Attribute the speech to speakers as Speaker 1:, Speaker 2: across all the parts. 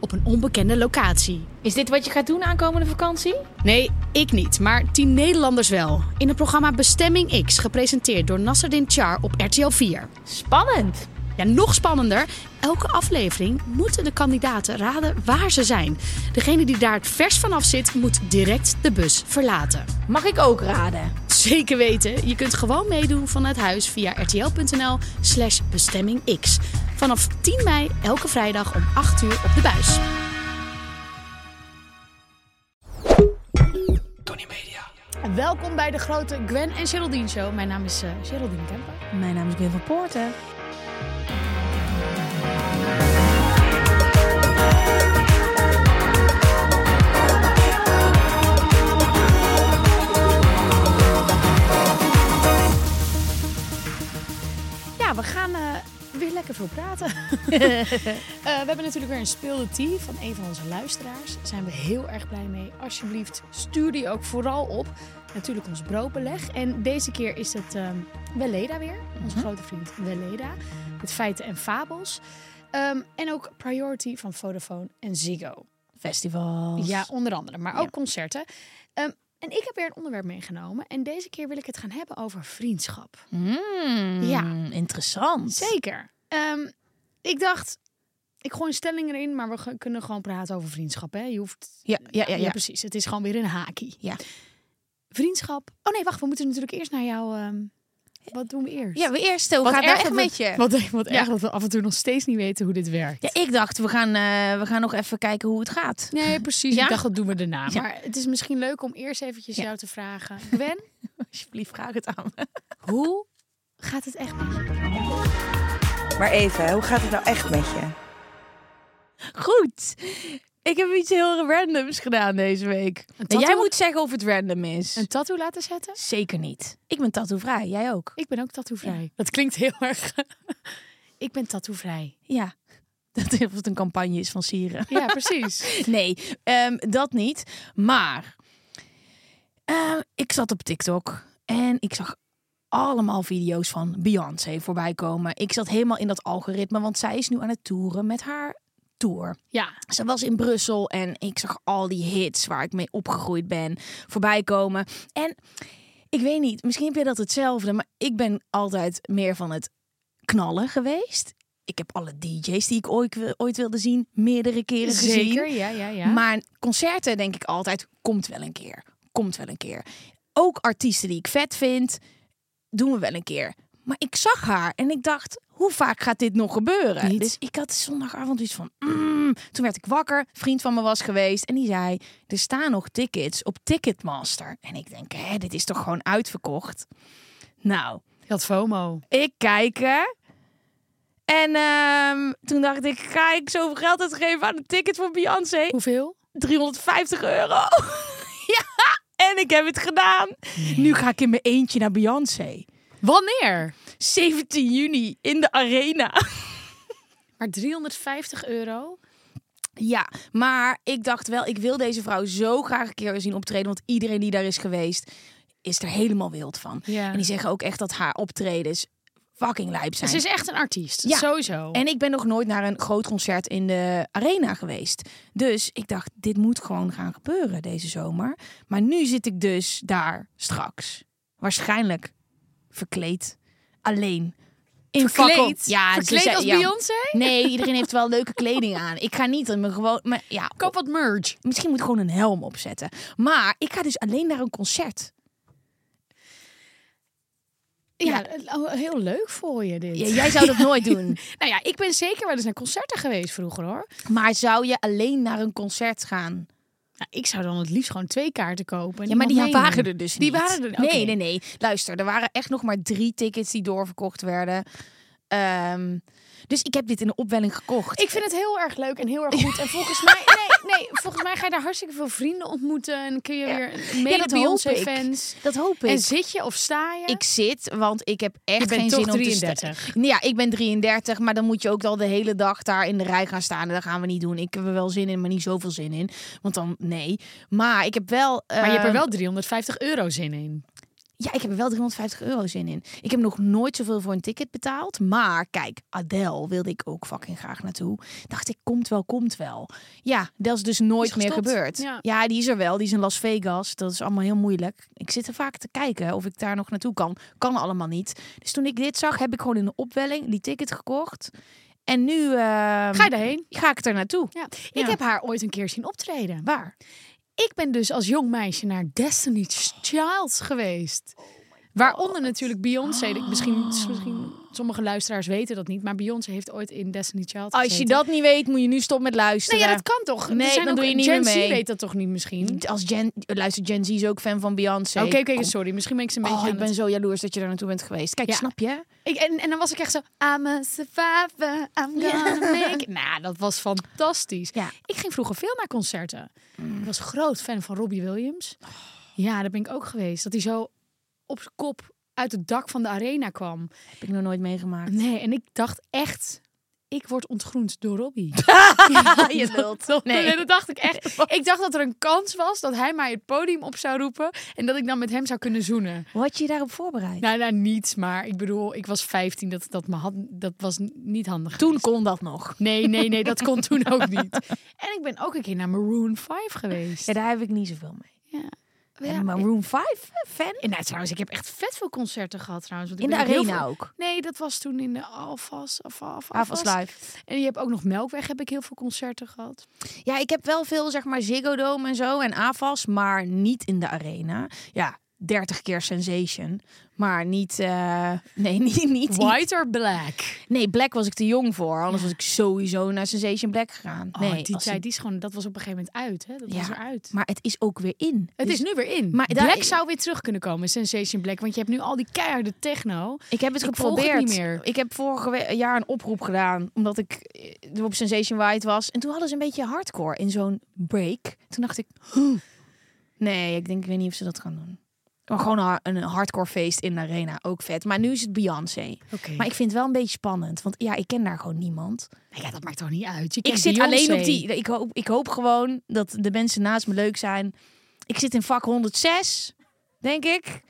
Speaker 1: op een onbekende locatie.
Speaker 2: Is dit wat je gaat doen aankomende vakantie?
Speaker 1: Nee, ik niet, maar tien Nederlanders wel. In het programma Bestemming X, gepresenteerd door Nasserdin Char op RTL 4.
Speaker 2: Spannend.
Speaker 1: Ja, nog spannender. Elke aflevering moeten de kandidaten raden waar ze zijn. Degene die daar het vers vanaf zit, moet direct de bus verlaten.
Speaker 2: Mag ik ook raden?
Speaker 1: Zeker weten. Je kunt gewoon meedoen vanuit huis via rtl.nl slash bestemmingx. Vanaf 10 mei elke vrijdag om 8 uur op de buis.
Speaker 3: Tony Media.
Speaker 1: Welkom bij de grote Gwen en Geraldine Show. Mijn naam is eh, Geraldine Kemper.
Speaker 2: Mijn naam is Gwen van Poorten.
Speaker 1: Ja, we gaan eh, weer lekker veel praten. Eh, we hebben natuurlijk weer een speelde tea van een van onze luisteraars. Daar zijn we heel erg blij mee. Alsjeblieft, stuur die ook vooral op. Natuurlijk ons broodbeleg. En deze keer is het ehm Weleda weer. Onze grote vriend Weleda. Met feiten en fabels. Ehm, en ook Priority van Vodafone en Ziggo.
Speaker 2: Festivals.
Speaker 1: Ja, onder andere. Maar ook
Speaker 2: Ja.
Speaker 1: concerten. Ehm, en ik heb weer een onderwerp meegenomen. En deze keer wil ik het gaan hebben over vriendschap.
Speaker 2: Mm,
Speaker 1: Ja.
Speaker 2: Interessant.
Speaker 1: Zeker. Ehm, ik dacht, ik gooi een stelling erin, maar we ge- kunnen gewoon praten over vriendschap. Hè? Je hoeft.
Speaker 2: Ja, ja, ja, ja.
Speaker 1: precies. Het is gewoon weer een haakje.
Speaker 2: Ja.
Speaker 1: Vriendschap. Oh nee, wacht, we moeten natuurlijk eerst naar jou. ehm, wat doen we eerst?
Speaker 2: Ja, we eerst. Hoe
Speaker 1: Wat
Speaker 2: gaat
Speaker 1: erg
Speaker 2: het echt
Speaker 1: dat
Speaker 2: met
Speaker 1: we-
Speaker 2: je?
Speaker 1: Wat, wat
Speaker 2: Ja.
Speaker 1: erg dat we af en toe nog steeds niet weten hoe dit werkt.
Speaker 2: Ja, ik dacht, we gaan, eh, we gaan nog even kijken hoe het gaat.
Speaker 1: Nee, precies.
Speaker 2: Ja?
Speaker 1: Ik dacht, dat doen we daarna.
Speaker 2: Ja.
Speaker 1: Maar het is misschien leuk om eerst eventjes
Speaker 2: Ja.
Speaker 1: jou te vragen. Gwen,
Speaker 2: Alsjeblieft, vraag het aan me.
Speaker 1: hoe gaat het echt met je?
Speaker 4: Maar even, hoe gaat het nou echt met je?
Speaker 2: Goed. Ik heb iets heel randoms gedaan deze week. Nou,
Speaker 1: tattoo-
Speaker 2: Jij moet zeggen of het random is.
Speaker 1: Een tattoo laten zetten?
Speaker 2: Zeker niet. Ik ben tattoovrij. Jij ook?
Speaker 1: Ik ben ook tattoovrij. Dat klinkt heel erg. ik ben tattoovrij.
Speaker 2: Ja. Dat of het een campagne is van Sieren.
Speaker 1: Ja, precies.
Speaker 2: Nee, ehm, dat niet. Maar ehm, ik zat op TikTok en ik zag allemaal video's van Beyoncé voorbij komen. Ik zat helemaal in dat algoritme, want zij is nu aan het toeren met haar tour.
Speaker 1: Ja,
Speaker 2: Ze was in Brussel en ik zag al die hits waar ik mee opgegroeid ben voorbij komen. En ik weet niet, misschien heb je dat hetzelfde, maar ik ben altijd meer van het knallen geweest. Ik heb alle DJ's die ik ooit, wi- ooit wilde zien, meerdere keren gezien.
Speaker 1: zeker. Ja, ja, ja.
Speaker 2: Maar concerten denk ik altijd, komt wel een keer. Komt wel een keer. Ook artiesten die ik vet vind, doen we wel een keer. Maar ik zag haar en ik dacht, hoe vaak gaat dit nog gebeuren?
Speaker 1: Niet.
Speaker 2: Dus ik had zondagavond iets van, mm. toen werd ik wakker. Een vriend van me was geweest en die zei, er staan nog tickets op Ticketmaster. En ik denk, hè, dit is toch gewoon uitverkocht? Nou,
Speaker 1: Je had FOMO.
Speaker 2: ik kijken. En ehm, toen dacht ik, ga ik zoveel geld uitgeven aan een ticket voor Beyoncé?
Speaker 1: Hoeveel?
Speaker 2: 350 euro. ja, en ik heb het gedaan. Nu ga ik in mijn eentje naar Beyoncé.
Speaker 1: Wanneer?
Speaker 2: 17 juni in de arena.
Speaker 1: Maar 350 euro?
Speaker 2: Ja, maar ik dacht wel, ik wil deze vrouw zo graag een keer zien optreden. Want iedereen die daar is geweest, is er helemaal wild van.
Speaker 1: Ja.
Speaker 2: En die zeggen ook echt dat haar optredens fucking lijp zijn.
Speaker 1: Ze is echt een artiest.
Speaker 2: Ja.
Speaker 1: Sowieso.
Speaker 2: En ik ben nog nooit naar een groot concert in de arena geweest. Dus ik dacht, dit moet gewoon gaan gebeuren deze zomer. Maar nu zit ik dus daar straks. Waarschijnlijk verkleed. Alleen. In fakkel.
Speaker 1: Ja,
Speaker 2: Ja, ze
Speaker 1: Verkleed
Speaker 2: zei-
Speaker 1: als
Speaker 2: ja.
Speaker 1: Beyoncé?
Speaker 2: Nee, iedereen heeft wel leuke kleding aan. Ik ga niet in mijn gewoon... Maar ja,
Speaker 1: Koop wat merch.
Speaker 2: misschien moet ik gewoon een helm opzetten. Maar ik ga dus alleen naar een concert.
Speaker 1: Ja, oh, heel leuk voor je dit.
Speaker 2: Ja, jij zou dat nooit doen.
Speaker 1: Nou ja, ik ben zeker wel eens naar concerten geweest vroeger hoor.
Speaker 2: Maar zou je alleen naar een concert gaan?
Speaker 1: Nou, ik zou dan het liefst gewoon twee kaarten kopen. en
Speaker 2: Ja, maar die
Speaker 1: iemand
Speaker 2: waren
Speaker 1: meenemen.
Speaker 2: er dus
Speaker 1: Die
Speaker 2: niet.
Speaker 1: waren er
Speaker 2: Nee, nee, nee. Luister, er waren echt nog maar drie tickets die doorverkocht werden. Ehm, dus ik heb dit in de opwelling gekocht.
Speaker 1: Ik vind het heel erg leuk en heel erg goed. En volgens mij, nee, nee, volgens mij ga je daar hartstikke veel vrienden ontmoeten. En kun je weer mede
Speaker 2: dat
Speaker 1: bij
Speaker 2: hoop
Speaker 1: ons
Speaker 2: ik.
Speaker 1: fans.
Speaker 2: dat hoop ik.
Speaker 1: En zit je of sta je?
Speaker 2: ik zit, want ik heb echt
Speaker 1: Je bent
Speaker 2: geen
Speaker 1: toch
Speaker 2: zin om te sta-
Speaker 1: 33.
Speaker 2: Nee, Ja, ik ben 33, maar dan moet je ook al de hele dag daar in de rij gaan staan. En dat gaan we niet doen. Ik heb er wel zin in, maar niet zoveel zin in. Want dan, nee. Maar ik heb wel...
Speaker 1: maar je hebt er
Speaker 2: ehm,
Speaker 1: wel 350 euro zin in.
Speaker 2: Ja, ik heb er wel 350 euro zin in. Ik heb nog nooit zoveel voor een ticket betaald. Maar kijk, Adele wilde ik ook fucking graag naartoe. Dacht ik, komt wel, komt wel. Ja, dat is dus nooit
Speaker 1: Is
Speaker 2: meer
Speaker 1: gestopt.
Speaker 2: gebeurd.
Speaker 1: Ja.
Speaker 2: die is er wel. Die is in Las Vegas. Dat is allemaal heel moeilijk. Ik zit er vaak te kijken of ik daar nog naartoe kan. Kan allemaal niet. Dus toen ik dit zag, heb ik gewoon in de opwelling die ticket gekocht. En nu ehm,
Speaker 1: Ga je daarheen?
Speaker 2: ga ik er naartoe.
Speaker 1: Ja. Ik
Speaker 2: Ja.
Speaker 1: heb haar ooit een keer zien optreden.
Speaker 2: Waar?
Speaker 1: Ik ben dus als jong meisje naar Destiny's Child geweest. Waaronder natuurlijk Beyoncé. De- Misschien, misschien sommige luisteraars weten dat niet, maar Beyoncé heeft ooit in Destiny's Child
Speaker 2: Als je
Speaker 1: gezeten.
Speaker 2: dat niet weet, moet je nu stoppen met
Speaker 1: Nee,
Speaker 2: luisteren.
Speaker 1: ja, dat kan toch? Er
Speaker 2: Nee,
Speaker 1: zijn
Speaker 2: dan
Speaker 1: ook-
Speaker 2: doe je niet
Speaker 1: Gen
Speaker 2: meer mee.
Speaker 1: Z weet dat toch niet misschien?
Speaker 2: Als Gen, luister, Gen Z is ook fan van Beyoncé.
Speaker 1: Oké, oké,
Speaker 2: Kom
Speaker 1: sorry. Misschien ben ik ze een beetje
Speaker 2: Oh,
Speaker 1: aan
Speaker 2: ik ben
Speaker 1: het-
Speaker 2: zo jaloers dat je daar naartoe bent geweest. Kijk,
Speaker 1: Ja.
Speaker 2: snap je?
Speaker 1: Ik, en, en dan was ik echt zo, I'm a survivor, I'm gonna make it. Nou, dat was fantastisch.
Speaker 2: Ja. Mm.
Speaker 1: Ik ging vroeger veel naar concerten. Ik was groot fan van Robbie Williams.
Speaker 2: Oh.
Speaker 1: Ja, daar ben ik ook geweest. Dat hij zo op zijn kop uit het dak van de arena kwam.
Speaker 2: Heb ik nog nooit meegemaakt.
Speaker 1: Nee, en ik dacht echt, ik word ontgroend door Robbie.
Speaker 2: je wilt.
Speaker 1: Nee.
Speaker 2: Nee.
Speaker 1: dat dacht ik echt. Ik dacht dat er een kans was dat hij mij het podium op zou roepen. En dat ik dan met hem zou kunnen zoenen.
Speaker 2: Wat je daarop voorbereid?
Speaker 1: Nou, nou niets, maar ik bedoel, ik was 15. Dat, dat, me had, dat was n- niet handig.
Speaker 2: Toen
Speaker 1: geweest.
Speaker 2: kon dat nog.
Speaker 1: Nee, nee, nee, dat kon toen ook niet. En ik ben ook een keer naar Maroon 5 geweest.
Speaker 2: Ja, daar heb ik niet zoveel mee.
Speaker 1: Ja,
Speaker 2: En maar
Speaker 1: ik-
Speaker 2: Room 5 fan?
Speaker 1: en nou, trouwens, ik heb echt vet veel concerten gehad trouwens. want ik
Speaker 2: In de
Speaker 1: ben heel
Speaker 2: arena
Speaker 1: veel-
Speaker 2: ook.
Speaker 1: Nee, dat was toen in de Alfas. Of Alfas.
Speaker 2: Avals live.
Speaker 1: En je hebt ook nog Melkweg, heb ik heel veel concerten gehad.
Speaker 2: Ja, ik heb wel veel, zeg maar, Ziggo Dome en zo en Avals, maar niet in de arena. Ja, 30 keer Sensation, maar niet... eh, nee, niet, niet, niet.
Speaker 1: White or Black?
Speaker 2: Nee, Black was ik te jong voor, anders was ik sowieso naar Sensation Black gegaan.
Speaker 1: Oh,
Speaker 2: nee,
Speaker 1: die
Speaker 2: als
Speaker 1: tijd,
Speaker 2: ik-
Speaker 1: die is gewoon, dat was op een gegeven moment uit. Hè? Dat was
Speaker 2: Ja,
Speaker 1: eruit.
Speaker 2: Maar het is ook weer in.
Speaker 1: Het
Speaker 2: Dus
Speaker 1: is nu weer in.
Speaker 2: Maar
Speaker 1: Maar
Speaker 2: daar-
Speaker 1: Black zou weer terug kunnen komen, Sensation Black. Want je hebt nu al die keiharde techno.
Speaker 2: Ik heb het
Speaker 1: Ik volg het
Speaker 2: geprobeerd.
Speaker 1: niet meer.
Speaker 2: Ik heb vorig jaar een oproep gedaan, omdat ik eh, op Sensation White was. En toen hadden ze een beetje hardcore in zo'n break. Toen dacht ik, "Huh, nee, ik denk, ik weet niet of ze dat gaan doen. Maar gewoon een har- een hardcore feest in de arena, ook vet. Maar nu is het Beyoncé.
Speaker 1: Oké.
Speaker 2: Maar ik vind het wel een beetje spannend, want ja, ik ken daar gewoon niemand.
Speaker 1: Nou ja, dat maakt toch niet uit. Je
Speaker 2: Ik
Speaker 1: kent
Speaker 2: zit alleen
Speaker 1: Beyoncé.
Speaker 2: op die. Ik hoop, ik hoop gewoon dat de mensen naast me leuk zijn. Ik zit in vak 106, denk ik.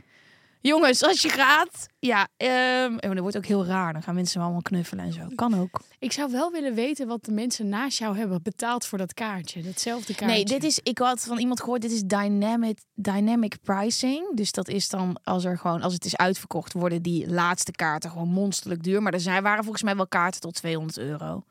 Speaker 2: Jongens, als je gaat. Ja, ehm oh, dat wordt ook heel raar. Dan gaan mensen me allemaal knuffelen en zo. Kan ook.
Speaker 1: Ik zou wel willen weten wat de mensen naast jou hebben betaald voor dat kaartje. Datzelfde kaartje.
Speaker 2: Nee, dit is. Ik had van iemand gehoord. Dit is dynamic, dynamic pricing. Dus dat is dan als er gewoon als het is uitverkocht worden die laatste kaarten gewoon monsterlijk duur. Maar er zijn waren volgens mij wel kaarten tot 200 euro.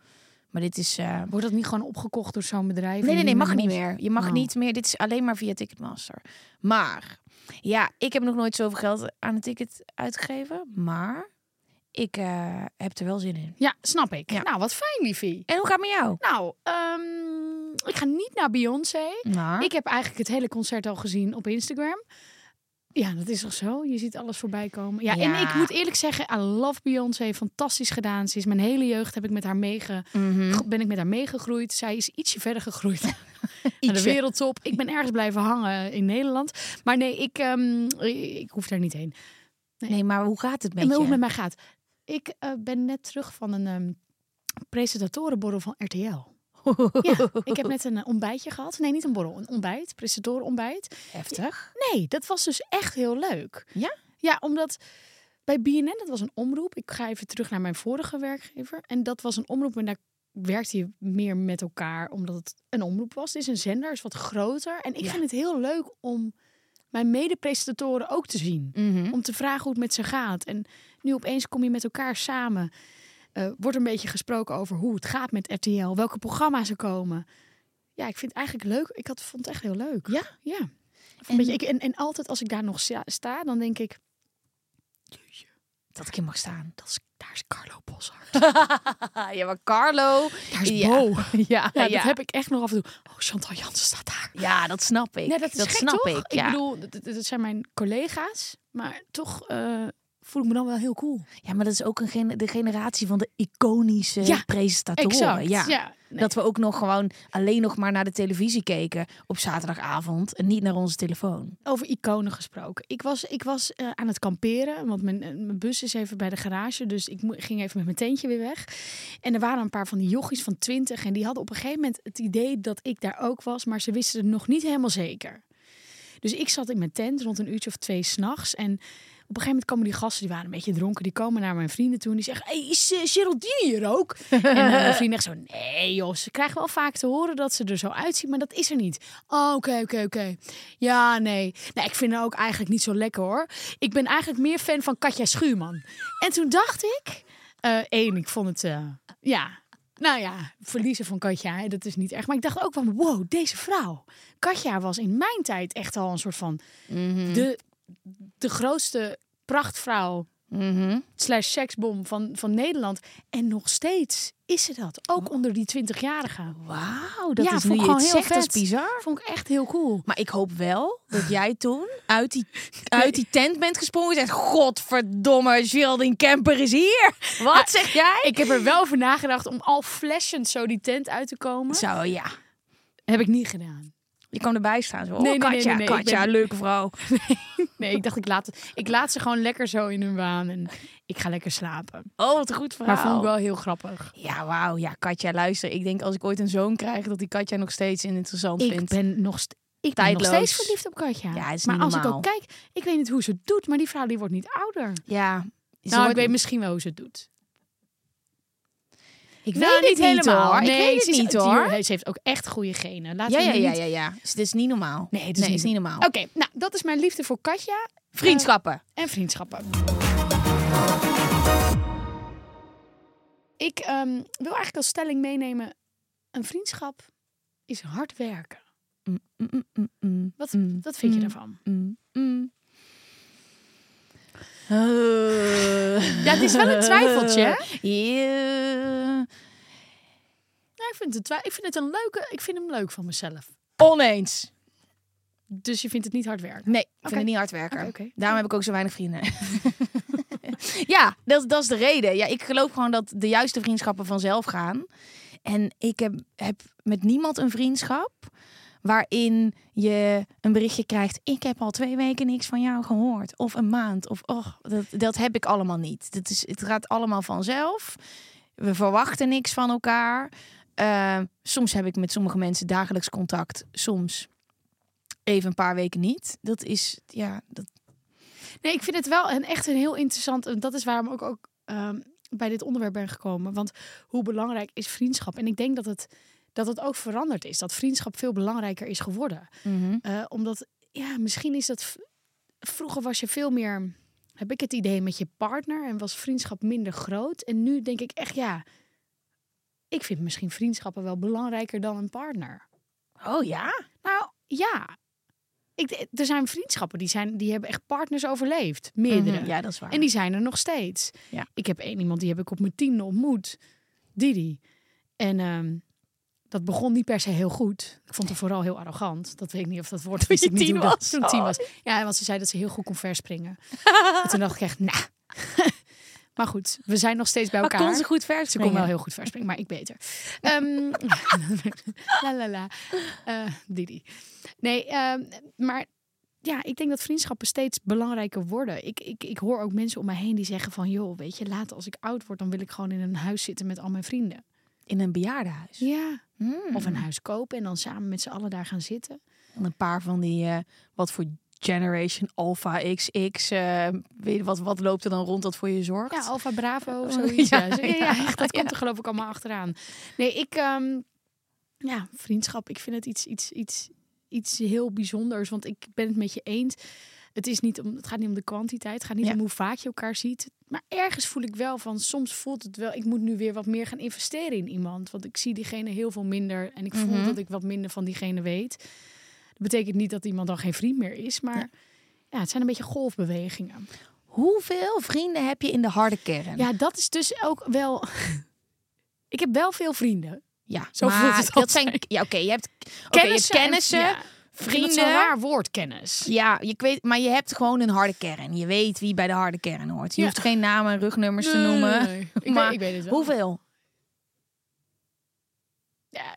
Speaker 2: Maar dit is. eh,
Speaker 1: Wordt dat niet gewoon opgekocht door zo'n bedrijf?
Speaker 2: Nee,
Speaker 1: en
Speaker 2: nee, nee,
Speaker 1: die
Speaker 2: mag niet
Speaker 1: mond-
Speaker 2: meer. Je mag
Speaker 1: Oh.
Speaker 2: niet meer. Dit is alleen maar via Ticketmaster. Maar ja, ik heb nog nooit zoveel geld aan een ticket uitgegeven. Maar ik eh, heb er wel zin in.
Speaker 1: Ja, snap ik.
Speaker 2: Ja.
Speaker 1: Nou, wat fijn, liefie.
Speaker 2: En hoe gaat het met jou?
Speaker 1: Nou, ehm, ik ga niet naar Beyoncé.
Speaker 2: Nou,
Speaker 1: Ik heb eigenlijk het hele concert al gezien op Instagram. Ja, dat is toch zo? Je ziet alles voorbij komen. Ja,
Speaker 2: Ja.
Speaker 1: en ik moet eerlijk zeggen, I love Beyoncé. Fantastisch gedaan. Ze is mijn hele jeugd heb ik met haar meege,
Speaker 2: Mhm. Nou,
Speaker 1: ben ik met haar meegegroeid. Zij is ietsje verder gegroeid. Naar de
Speaker 2: Ietsje.
Speaker 1: wereldtop. Ik ben ergens blijven hangen in Nederland. Maar nee, ik, ehm, ik hoef daar niet heen.
Speaker 2: nee, maar hoe gaat het met
Speaker 1: En hoe het
Speaker 2: je?
Speaker 1: met mij gaat. Ik eh, ben net terug van een ehm, presentatorenborrel van RTL. Ja, ik heb net een eh, ontbijtje gehad. Nee, niet een borrel. Een ontbijt. Presentatoren-ontbijt.
Speaker 2: Heftig.
Speaker 1: Nee, dat was dus echt heel leuk.
Speaker 2: Ja?
Speaker 1: Ja, omdat bij BNN, dat was een omroep. Ik ga even terug naar mijn vorige werkgever. En dat was een omroep en daar werkte je meer met elkaar. Omdat het een omroep was. Het is een zender, is wat groter. En ik
Speaker 2: Ja.
Speaker 1: vind het heel leuk om mijn mede-presentatoren ook te zien.
Speaker 2: Mhm.
Speaker 1: Om te vragen hoe het met ze gaat. En nu opeens kom je met elkaar samen. Eh wordt een beetje gesproken over hoe het gaat met RTL. Welke programma's er komen. Ja, ik vind het eigenlijk leuk. Ik had, vond het echt heel leuk.
Speaker 2: Ja?
Speaker 1: Ja. Of Een
Speaker 2: En-
Speaker 1: beetje, ik, en, en altijd als ik daar nog sta- sta, dan denk ik... "Jeetje,
Speaker 2: Dat ik hier mag staan.
Speaker 1: Dat is, daar is Carlo Boshart.
Speaker 2: ja, maar Carlo.
Speaker 1: Daar is
Speaker 2: ja.
Speaker 1: Bo. Ja,
Speaker 2: Ja, ja,
Speaker 1: dat heb ik echt nog af en toe. Oh, Chantal Jansen staat daar.
Speaker 2: Ja, dat snap ik.
Speaker 1: Nee, dat is gek,
Speaker 2: snap
Speaker 1: toch?
Speaker 2: ik. Ja.
Speaker 1: bedoel, dat, dat- dat zijn mijn collega's. Maar toch eh, voel ik me dan wel heel cool.
Speaker 2: Ja, maar dat is ook een gen- de generatie van de iconische
Speaker 1: Ja,
Speaker 2: presentatoren.
Speaker 1: Exact.
Speaker 2: Ja.
Speaker 1: nee.
Speaker 2: Dat we ook nog gewoon alleen nog maar naar de televisie keken op zaterdagavond en niet naar onze telefoon.
Speaker 1: Over iconen gesproken. Ik was, ik was eh, aan het kamperen, want mijn, eh, mijn bus is even bij de garage. Dus ik mo- ging even met mijn tentje weer weg. En er waren een paar van die jochies van 20. En die hadden op een gegeven moment het idee dat ik daar ook was. Maar ze wisten het nog niet helemaal zeker. Dus ik zat in mijn tent rond een uurtje of twee s'nachts. En op een gegeven moment komen die gasten, die waren een beetje dronken. Die komen naar mijn vrienden toe en die zeggen... Hey, is eh, Geraldine hier ook? en eh, mijn vrienden echt zo... Nee joh, ze krijgen wel vaak te horen dat ze er zo uitziet. Maar dat is er niet. Oh, oké, oké, oké. Ja, nee. Nee, ik vind haar ook eigenlijk niet zo lekker hoor. Ik ben eigenlijk meer fan van Katja Schuurman. En toen dacht ik... eh, één, ik vond het... eh, ja... Nou ja, verliezen van Katja, hè, dat is niet echt. Maar ik dacht ook van, wow, deze vrouw. Katja was in mijn tijd echt al een soort van
Speaker 2: Mm. Dus-
Speaker 1: de, de grootste prachtvrouw Mhm. slash seksbom van, van Nederland. En nog steeds is ze dat. Ook onder die 20-jarigen.
Speaker 2: Wauw, Oh. dat
Speaker 1: Ja,
Speaker 2: is
Speaker 1: vond
Speaker 2: nu
Speaker 1: ik
Speaker 2: je
Speaker 1: gewoon
Speaker 2: het
Speaker 1: heel
Speaker 2: zegt, dat is
Speaker 1: vet.
Speaker 2: bizar.
Speaker 1: Vond ik echt heel cool.
Speaker 2: Maar ik hoop wel dat jij toen uit die, uit die tent bent gesprongen en zegt... Godverdomme, Geraldine Kemper is hier. Wat zeg jij?
Speaker 1: Ah, Ik heb er wel over nagedacht om al flashend zo die tent uit te komen.
Speaker 2: Zo, ja.
Speaker 1: Heb ik niet gedaan.
Speaker 2: Je kan erbij staan. Zo. Oh,
Speaker 1: Nee, nee, nee,
Speaker 2: Katja,
Speaker 1: nee, nee, ik
Speaker 2: Katja,
Speaker 1: ben-
Speaker 2: leuke vrouw.
Speaker 1: Nee, ik dacht ik laat, ik laat ze gewoon lekker zo in hun waan. En ik ga lekker slapen.
Speaker 2: Oh, wat een goed verhaal.
Speaker 1: Maar vond ik wel heel grappig.
Speaker 2: Ja, wauw. Ja, Katja, luister. Ik denk als ik ooit een zoon krijg, dat die Katja nog steeds interessant
Speaker 1: Ik
Speaker 2: vindt.
Speaker 1: ben nog, st- ik ben nog
Speaker 2: Tijdloos.
Speaker 1: steeds verliefd op Katja.
Speaker 2: Ja, het is
Speaker 1: maar
Speaker 2: niet
Speaker 1: als ik
Speaker 2: normaal.
Speaker 1: ook kijk, ik weet niet hoe ze het doet, maar die vrouw die wordt niet ouder.
Speaker 2: Ja. ze
Speaker 1: nou, ik
Speaker 2: wordt-
Speaker 1: weet misschien wel hoe ze het doet.
Speaker 2: ik
Speaker 1: Nou,
Speaker 2: weet het niet helemaal.
Speaker 1: hoor.
Speaker 2: Ik
Speaker 1: Nee,
Speaker 2: weet
Speaker 1: ze
Speaker 2: het
Speaker 1: is-
Speaker 2: niet
Speaker 1: die-
Speaker 2: hoor.
Speaker 1: Ze heeft ook echt goede genen. Laten
Speaker 2: Ja,
Speaker 1: we
Speaker 2: ja,
Speaker 1: nu
Speaker 2: ja,
Speaker 1: niet-
Speaker 2: ja, ja. Dus dit is niet normaal.
Speaker 1: Nee, het
Speaker 2: het
Speaker 1: is
Speaker 2: is,
Speaker 1: niet-
Speaker 2: niet normaal.
Speaker 1: Oké, nou, dat is mijn liefde voor Katja
Speaker 2: Vriendschappen.
Speaker 1: en vriendschappen. Ik ehm, wil eigenlijk als stelling meenemen... een vriendschap is hard werken.
Speaker 2: Mm, mm, mm, mm,
Speaker 1: Wat,
Speaker 2: Mm.
Speaker 1: wat vind je
Speaker 2: Mm.
Speaker 1: daarvan?
Speaker 2: mm, mm. Eh.
Speaker 1: Ja, het is wel een twijfeltje, hè?
Speaker 2: Ja.
Speaker 1: Nou, ik, vind het, wel- ik vind het een leuke... Ik vind hem leuk van mezelf.
Speaker 2: Oneens.
Speaker 1: Dus je vindt het niet hard werken.
Speaker 2: Nee, ik vind
Speaker 1: Oké.
Speaker 2: het niet hard werken.
Speaker 1: Oké, oké.
Speaker 2: Daarom heb ik ook zo weinig vrienden. ja, dat, dat is de reden. Ja, ik geloof gewoon dat de juiste vriendschappen vanzelf gaan. En ik heb, heb met niemand een vriendschap waarin je een berichtje krijgt. Ik heb al twee weken niks van jou gehoord. Of een maand. Of oh, dat, dat heb ik allemaal niet. Dat is, het gaat allemaal vanzelf. We verwachten niks van elkaar. Eh, soms heb ik met sommige mensen dagelijks contact. Soms even een paar weken niet. Dat is, ja, dat,
Speaker 1: Nee, ik vind het wel een, echt een heel interessant. En dat is waarom ik ook ehm, bij dit onderwerp ben gekomen. Want hoe belangrijk is vriendschap? En ik denk dat het, dat het ook veranderd is. Dat vriendschap veel belangrijker is geworden.
Speaker 2: Mhm.
Speaker 1: Eh, omdat, ja, misschien is dat. v- Vroeger was je veel meer. Heb ik het idee met je partner en was vriendschap minder groot. En nu denk ik echt, ja. Ik vind misschien vriendschappen wel belangrijker dan een partner.
Speaker 2: Oh ja?
Speaker 1: Nou ja. Ik, er zijn vriendschappen die, zijn, die hebben echt partners overleefd. Meerdere.
Speaker 2: mhm. Ja, dat is waar.
Speaker 1: En die zijn er nog steeds.
Speaker 2: Ja.
Speaker 1: Ik heb één iemand die heb ik op mijn tiende ontmoet. Didi. En ehm, dat begon niet per se heel goed. Ik vond hem vooral heel arrogant. Dat weet ik niet of dat woord toen
Speaker 2: je tien was. Oh.
Speaker 1: Toen ik tien was. Ja, want ze zei dat ze heel goed kon verspringen. en toen dacht ik echt, nou. maar goed, we zijn nog steeds bij elkaar.
Speaker 2: kon ze goed vers
Speaker 1: Ze kon wel heel goed verspringen, maar ik beter. Ehm, la la la. Eh, Didi. Nee, ehm, maar ja, ik denk dat vriendschappen steeds belangrijker worden. Ik, ik, ik hoor ook mensen om mij heen die zeggen van... joh, weet je, later als ik oud word... dan wil ik gewoon in een huis zitten met al mijn vrienden.
Speaker 2: In een bejaardenhuis.
Speaker 1: Ja.
Speaker 2: Hmm.
Speaker 1: Of een huis kopen en dan samen met z'n allen daar gaan zitten.
Speaker 2: En een paar van die, eh, wat voor Generation Alpha XX, eh, weet je wat, wat loopt er dan rond dat voor je zorgt?
Speaker 1: Ja, Alfa Bravo of
Speaker 2: Oh,
Speaker 1: zoiets. Ja,
Speaker 2: ja,
Speaker 1: ja,
Speaker 2: ja,
Speaker 1: echt, dat
Speaker 2: ja.
Speaker 1: komt er geloof ik allemaal achteraan. Nee, ik... ehm, ja, vriendschap. Ik vind het iets, iets, iets, iets heel bijzonders. Want ik ben het met je eens. Het, is niet om, het gaat niet om de kwantiteit. Het gaat niet
Speaker 2: Ja.
Speaker 1: om hoe vaak je elkaar ziet. Maar ergens voel ik wel van... Soms voelt het wel... Ik moet nu weer wat meer gaan investeren in iemand. Want ik zie diegene heel veel minder. En ik voel
Speaker 2: Mhm.
Speaker 1: dat ik wat minder van diegene weet. Dat betekent niet dat iemand dan geen vriend meer is. Maar ja, het zijn een beetje golfbewegingen.
Speaker 2: Hoeveel vrienden heb je in de harde kern?
Speaker 1: Ja, dat is dus ook wel. Ik heb wel veel vrienden.
Speaker 2: Ja,
Speaker 1: zo
Speaker 2: maar
Speaker 1: voelt het
Speaker 2: dat zijn,
Speaker 1: altijd.
Speaker 2: ja, oké, je hebt, oké, je hebt
Speaker 1: Kennissen en-
Speaker 2: kennissen,
Speaker 1: ja. Vrienden. Dat is een raar woord, kennis.
Speaker 2: Ja, je weet, maar je hebt gewoon een harde kern. Je weet wie bij de harde kern hoort. Je
Speaker 1: Ja.
Speaker 2: hoeft geen namen en rugnummers te
Speaker 1: Nee, nee,
Speaker 2: noemen.
Speaker 1: nee. Ik weet-
Speaker 2: maar
Speaker 1: ik weet het wel.
Speaker 2: Hoeveel?
Speaker 1: Ja,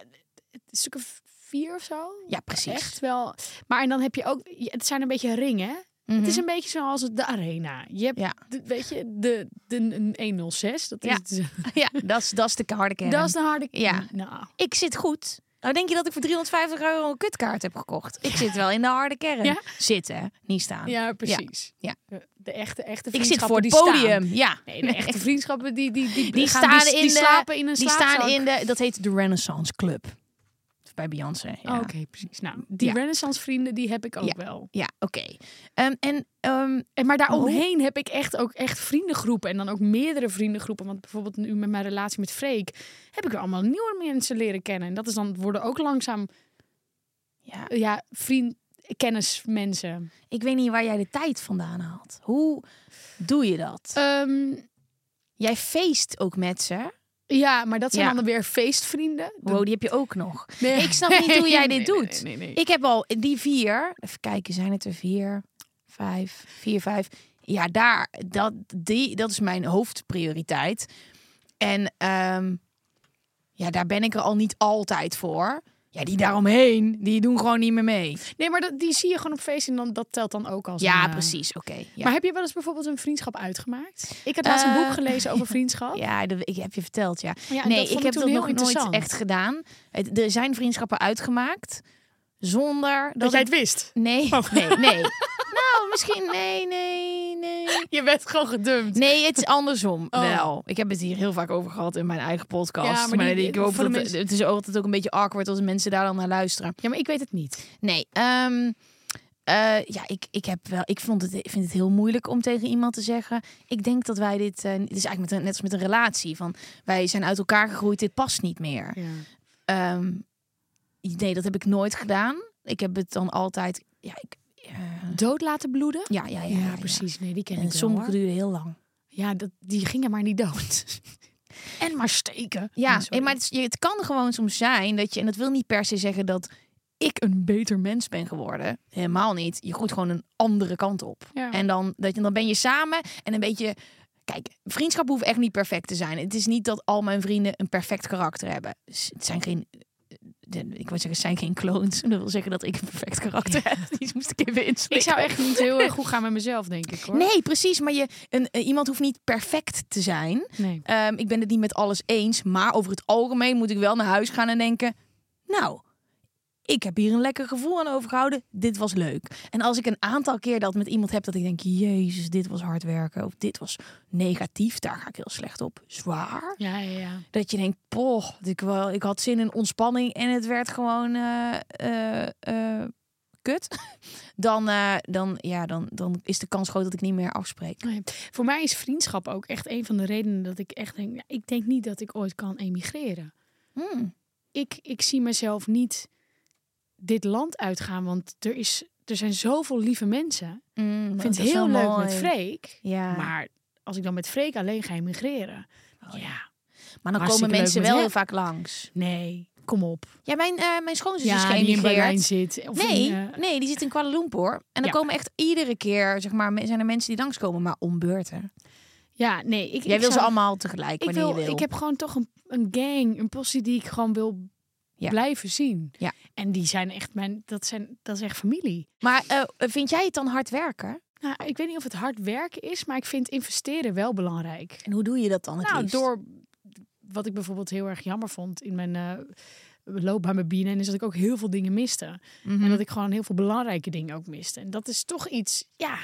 Speaker 1: het is stukken vier of zo.
Speaker 2: Ja, precies.
Speaker 1: Echt wel. Maar en dan heb je ook, je- het zijn een beetje ringen.
Speaker 2: Mhm.
Speaker 1: Het is een beetje zoals de arena. Je hebt,
Speaker 2: Ja.
Speaker 1: de- weet je, de, de 106. Dat is,
Speaker 2: Ja.
Speaker 1: het-
Speaker 2: Ja, dat is, dat is de harde kern.
Speaker 1: dat is de harde
Speaker 2: Ja.
Speaker 1: Nou,
Speaker 2: Ik zit goed. Nou, denk je dat ik voor 350 euro een kutkaart heb gekocht? Ik zit wel in de harde kern.
Speaker 1: Ja?
Speaker 2: Zitten, hè? niet staan.
Speaker 1: ja, precies.
Speaker 2: Ja.
Speaker 1: De, de echte, echte
Speaker 2: Ik zit
Speaker 1: vriendschappen
Speaker 2: voor het
Speaker 1: die staan.
Speaker 2: podium. Ja.
Speaker 1: Nee, de echte vriendschappen die, die, die,
Speaker 2: Die
Speaker 1: gaan-
Speaker 2: staan
Speaker 1: die,
Speaker 2: in
Speaker 1: die
Speaker 2: de-
Speaker 1: slapen in een
Speaker 2: Die
Speaker 1: slaapzak.
Speaker 2: staan in de, dat heet de Renaissance Club. Bij Beyoncé. Ja,
Speaker 1: Oh, Oké, precies. Nou, die
Speaker 2: Ja.
Speaker 1: renaissance vrienden, die heb ik ook
Speaker 2: Ja.
Speaker 1: wel.
Speaker 2: ja oké. Ehm, en ehm,
Speaker 1: En maar daaromheen heb ik echt ook echt vriendengroepen. En dan ook meerdere vriendengroepen. Want bijvoorbeeld nu met mijn relatie met Freek... heb ik weer allemaal nieuwe mensen leren kennen. En dat is dan, worden ook langzaam
Speaker 2: ja,
Speaker 1: eh, ja, vriend, kennismensen.
Speaker 2: ik weet niet waar jij de tijd vandaan haalt. Hoe doe je dat?
Speaker 1: Ehm,
Speaker 2: jij feest ook met ze.
Speaker 1: ja, maar dat zijn
Speaker 2: Ja.
Speaker 1: dan weer feestvrienden. Dat-
Speaker 2: Wow, die heb je ook nog.
Speaker 1: Nee.
Speaker 2: Ik snap niet hoe jij
Speaker 1: Nee,
Speaker 2: dit
Speaker 1: nee,
Speaker 2: doet.
Speaker 1: nee, nee, nee.
Speaker 2: Ik heb al die vier. Even kijken, zijn het er vier, vijf, vier, vijf. Ja, daar, dat, die, dat is mijn hoofdprioriteit. En ehm, ja, daar ben ik er al niet altijd voor. Ja, die daaromheen, die doen gewoon niet meer mee.
Speaker 1: Nee, maar dat, die zie je gewoon op feest en dan, dat telt dan ook als
Speaker 2: Ja,
Speaker 1: een, eh,
Speaker 2: precies. Oké. ja.
Speaker 1: Maar heb je wel eens bijvoorbeeld een vriendschap uitgemaakt? Ik had laatst een
Speaker 2: Eh,
Speaker 1: boek gelezen over vriendschap.
Speaker 2: Ja, dat ik heb je verteld, ja.
Speaker 1: Ja, en
Speaker 2: nee,
Speaker 1: dat vond
Speaker 2: ik
Speaker 1: ik
Speaker 2: heb
Speaker 1: toen
Speaker 2: dat
Speaker 1: heel
Speaker 2: nog nooit
Speaker 1: interessant.
Speaker 2: echt gedaan. Het, er zijn vriendschappen uitgemaakt zonder dat,
Speaker 1: dat jij
Speaker 2: ik-
Speaker 1: het wist.
Speaker 2: Nee,
Speaker 1: Oh.
Speaker 2: nee, nee. nou, misschien nee, nee, nee.
Speaker 1: Je bent gewoon gedumpt.
Speaker 2: Nee, het is andersom
Speaker 1: Oh.
Speaker 2: wel. Ik heb het hier heel vaak over gehad in mijn eigen podcast.
Speaker 1: Ja,
Speaker 2: maar
Speaker 1: maar die-
Speaker 2: ik
Speaker 1: die-
Speaker 2: hoop
Speaker 1: voor
Speaker 2: dat
Speaker 1: de mensen-
Speaker 2: het is ook altijd ook een beetje awkward als mensen daar dan naar luisteren.
Speaker 1: Ja, maar ik weet het niet.
Speaker 2: Nee, ehm, eh, ja, ik, ik heb wel. Ik vond het, ik vind het heel moeilijk om tegen iemand te zeggen. Ik denk dat wij dit. eh, het is eigenlijk met, een- net als met een relatie. Van wij zijn uit elkaar gegroeid. Dit past niet meer. Ehm, nee, dat heb ik nooit gedaan. Ik heb het dan altijd. Ja, ik, eh,
Speaker 1: Dood laten bloeden?
Speaker 2: ja, ja, ja,
Speaker 1: Ja,
Speaker 2: ja, ja.
Speaker 1: precies. Nee, die ken
Speaker 2: En
Speaker 1: ik wel,
Speaker 2: sommige
Speaker 1: hoor.
Speaker 2: duren heel lang.
Speaker 1: Ja, dat, die gingen maar niet dood. en maar steken.
Speaker 2: Ja, eh,
Speaker 1: Nee, sorry.
Speaker 2: maar het, is- je- het kan gewoon soms zijn dat je, en dat wil niet per se zeggen dat ik een beter mens ben geworden. Helemaal niet. Je groeit gewoon een andere kant op.
Speaker 1: Ja.
Speaker 2: En dan, dat je, dan ben je samen en een beetje. Kijk, vriendschap hoeft echt niet perfect te zijn. Het is niet dat al mijn vrienden een perfect karakter hebben. Dus het zijn geen. de- Ik wil zeggen, het zijn geen clones. Dat wil zeggen dat ik een perfect karakter heb. Die moest ik even inslikken.
Speaker 1: Ik zou echt niet heel erg goed gaan met mezelf, denk ik hoor.
Speaker 2: Nee, precies. Maar je, een, eh, iemand hoeft niet perfect te zijn.
Speaker 1: Nee.
Speaker 2: Ehm, ik ben het niet met alles eens, maar over het algemeen moet ik wel naar huis gaan en denken: Nou, ik heb hier een lekker gevoel aan overgehouden. Dit was leuk. En als ik een aantal keer dat met iemand heb dat ik denk: Jezus, dit was hard werken of dit was negatief, daar ga ik heel slecht op. Zwaar.
Speaker 1: Ja, ja, ja.
Speaker 2: Dat je denkt: Poh, ik, wel, ik had zin in ontspanning en het werd gewoon eh, eh, eh, kut. Dan, eh, dan, ja, dan, dan is de kans groot dat ik niet meer afspreek.
Speaker 1: Nee. Voor mij is vriendschap ook echt een van de redenen dat ik echt denk... ja, ik denk niet dat ik ooit kan emigreren.
Speaker 2: Hmm.
Speaker 1: Ik, ik zie mezelf niet dit land uitgaan, want er, is, er zijn zoveel lieve mensen. Ik vind
Speaker 2: Hmm, dat
Speaker 1: het
Speaker 2: is
Speaker 1: heel
Speaker 2: wel
Speaker 1: leuk
Speaker 2: mooi.
Speaker 1: met Freek,
Speaker 2: Ja. Oh,
Speaker 1: maar als ik dan met Freek alleen ga emigreren...
Speaker 2: ja.
Speaker 1: ja,
Speaker 2: Maar dan
Speaker 1: Hartstikke leuk
Speaker 2: komen mensen
Speaker 1: met
Speaker 2: wel
Speaker 1: hem.
Speaker 2: heel vaak langs.
Speaker 1: Nee, kom op.
Speaker 2: Ja, mijn, eh, mijn schoonzus is
Speaker 1: ja, die in Berlijn
Speaker 2: geëmigreerd.
Speaker 1: zit. Of
Speaker 2: Nee,
Speaker 1: in, eh,
Speaker 2: nee, die zit in Kuala Lumpur. En dan
Speaker 1: Ja.
Speaker 2: komen echt iedere keer, zeg maar, me- zijn er mensen die langskomen, maar om beurten.
Speaker 1: ja, nee. Ik,
Speaker 2: Jij
Speaker 1: ik
Speaker 2: wil ze
Speaker 1: zou-
Speaker 2: allemaal tegelijk,
Speaker 1: Ik,
Speaker 2: wanneer
Speaker 1: wil,
Speaker 2: je wil.
Speaker 1: ik heb gewoon toch een, een gang, een postie die ik gewoon wil
Speaker 2: Ja.
Speaker 1: blijven zien.
Speaker 2: Ja.
Speaker 1: En die zijn echt mijn, dat, zijn, dat is echt familie.
Speaker 2: Maar eh, vind jij het dan hard werken?
Speaker 1: Nou, ik weet niet of het hard werken is, maar ik vind investeren wel belangrijk.
Speaker 2: En hoe doe je dat dan het
Speaker 1: nou,
Speaker 2: liefst?
Speaker 1: door wat ik bijvoorbeeld heel erg jammer vond in mijn eh, loopbaan bij BNN, is dat ik ook heel veel dingen miste.
Speaker 2: Mhm.
Speaker 1: En dat ik gewoon heel veel belangrijke dingen ook miste. En dat is toch iets, ja,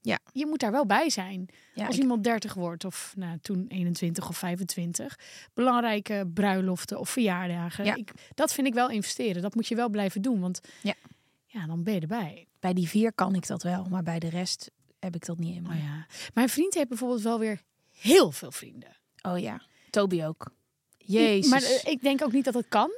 Speaker 2: Ja.
Speaker 1: je moet daar wel bij zijn.
Speaker 2: Ja,
Speaker 1: Als
Speaker 2: ik-
Speaker 1: iemand 30 wordt, of nou, toen 21 of 25, belangrijke bruiloften of verjaardagen.
Speaker 2: Ja.
Speaker 1: Ik, dat vind ik wel investeren. Dat moet je wel blijven doen, want
Speaker 2: Ja.
Speaker 1: ja dan ben je erbij.
Speaker 2: Bij die vier kan ik dat wel, maar bij de rest heb ik dat niet helemaal.
Speaker 1: Maar ja. Mijn vriend heeft bijvoorbeeld wel weer heel veel vrienden.
Speaker 2: Oh ja, Toby ook. Jezus.
Speaker 1: eh, Maar eh, ik denk ook niet dat het kan.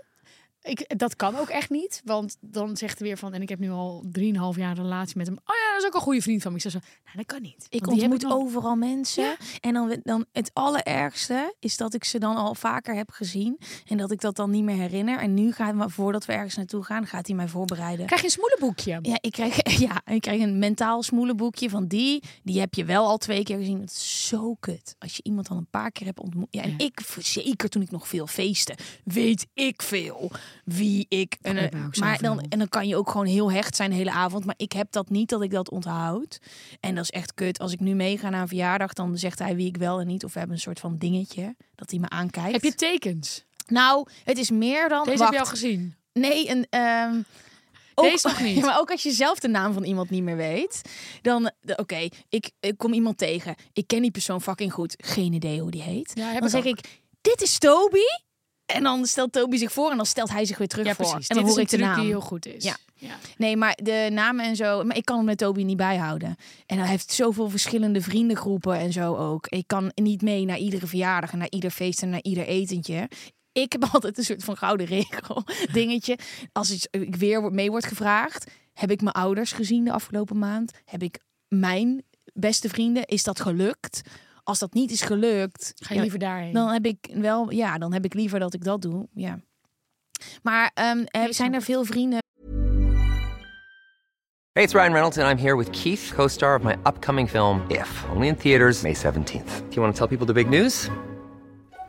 Speaker 1: Ik, dat kan ook echt niet, want dan zegt hij weer van... en ik heb nu al 3,5 jaar een relatie met hem. Oh ja, dat is ook een goede vriend van me. Ik zeg zo, nou dat kan niet.
Speaker 2: Ik
Speaker 1: want die heb
Speaker 2: ontmoet
Speaker 1: nog-
Speaker 2: overal mensen. En dan, dan het allerergste is dat ik ze dan al vaker heb gezien. En dat ik dat dan niet meer herinner. En nu gaat we, voordat we ergens naartoe gaan, gaat hij mij voorbereiden.
Speaker 1: Krijg je een smoelenboekje?
Speaker 2: Ja ik, krijg, ja, ik krijg een mentaal smoelenboekje van die. Die heb je wel al twee keer gezien. Dat is zo kut. Als je iemand dan een paar keer hebt ontmoet. Ja, en
Speaker 1: Ja.
Speaker 2: ik, zeker toen ik nog veel feesten, weet ik veel wie ik... En,
Speaker 1: ik
Speaker 2: eh,
Speaker 1: ben ook
Speaker 2: maar
Speaker 1: zoveel.
Speaker 2: dan, en dan kan je ook gewoon heel hecht zijn de hele avond. Maar ik heb dat niet, dat ik dat onthoud. En dat is echt kut. Als ik nu meega naar een verjaardag, dan zegt hij wie ik wel en niet. Of we hebben een soort van dingetje dat hij me aankijkt.
Speaker 1: Heb je tekens?
Speaker 2: Nou, het is meer dan...
Speaker 1: Deze
Speaker 2: Wacht.
Speaker 1: heb je al gezien.
Speaker 2: Nee, een. ehm,
Speaker 1: Deze nog niet.
Speaker 2: Ja, maar ook als je zelf de naam van iemand niet meer weet, dan. de- Oké, ik, ik kom iemand tegen. Ik ken die persoon fucking goed. Geen idee hoe die heet.
Speaker 1: Ja, heb
Speaker 2: dan
Speaker 1: ik
Speaker 2: zeg
Speaker 1: ook.
Speaker 2: ik: Dit is Toby. En dan stelt Toby zich voor en dan stelt hij zich weer terug
Speaker 1: Ja,
Speaker 2: voor.
Speaker 1: precies.
Speaker 2: En dan
Speaker 1: Dit is
Speaker 2: hoor
Speaker 1: een
Speaker 2: ik de
Speaker 1: truc
Speaker 2: naam.
Speaker 1: die heel goed is.
Speaker 2: Ja. Nee, maar de namen en zo. Maar ik kan hem met Toby niet bijhouden. En hij heeft zoveel verschillende vriendengroepen en zo ook. Ik kan niet mee naar iedere verjaardag en naar ieder feest en naar ieder etentje. Ik heb altijd een soort van gouden regel dingetje. Als iets- eh, ik weer word- mee wordt gevraagd, heb ik mijn ouders gezien de afgelopen maand? Heb ik mijn beste vrienden? Is dat gelukt? Als dat niet is gelukt,
Speaker 1: Ga je
Speaker 2: ja,
Speaker 1: liever daarheen?
Speaker 2: dan heb ik wel, ja, dan heb ik liever dat ik dat doe. Ja. Maar ehm, eh, zijn er veel vrienden
Speaker 3: Hey, it's Ryan Reynolds, and I'm here with Keith, co star of my upcoming film, If, only in theaters, May 17th. Do you want to tell people the big news?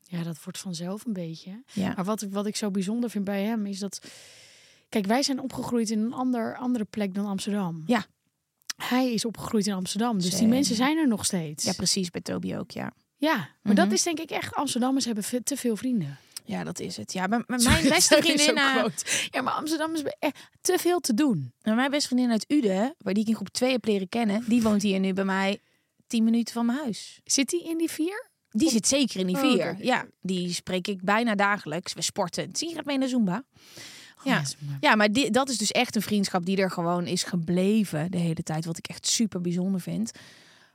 Speaker 1: Ja, dat wordt vanzelf een beetje.
Speaker 2: Ja.
Speaker 1: Maar wat, ik- wat ik zo bijzonder vind bij hem is dat. Kijk, wij zijn opgegroeid in een ander, andere plek dan Amsterdam.
Speaker 2: Ja.
Speaker 1: Hij is opgegroeid in Amsterdam. Dus die
Speaker 2: Same.
Speaker 1: mensen zijn er nog steeds.
Speaker 2: Ja, precies. Bij Toby ook, ja.
Speaker 1: Ja, maar
Speaker 2: Mhm.
Speaker 1: dat is denk ik echt. Amsterdammers hebben ve- te veel vrienden.
Speaker 2: Ja, dat is het. Ja, bij, bij mijn
Speaker 1: Sorry,
Speaker 2: beste
Speaker 1: sorry,
Speaker 2: vriendin...
Speaker 1: zo'n
Speaker 2: eh,
Speaker 1: quote. Ja, maar Amsterdammers hebben echt te veel te doen.
Speaker 2: bij mijn beste vriendin uit Uden, waar die ik in groep 2 heb leren kennen, die woont hier nu bij mij 10 minuten van mijn huis.
Speaker 1: Zit hij in die vier?
Speaker 2: Die zit zeker in die
Speaker 1: Oh,
Speaker 2: vier.
Speaker 1: oké.
Speaker 2: Ja, die spreek ik bijna dagelijks. We sporten. Zie je gaat mee naar Zumba?
Speaker 1: ja,
Speaker 2: Ja,
Speaker 1: Zumba.
Speaker 2: ja maar die, dat is dus echt een vriendschap die er gewoon is gebleven de hele tijd. Wat ik echt super bijzonder vind.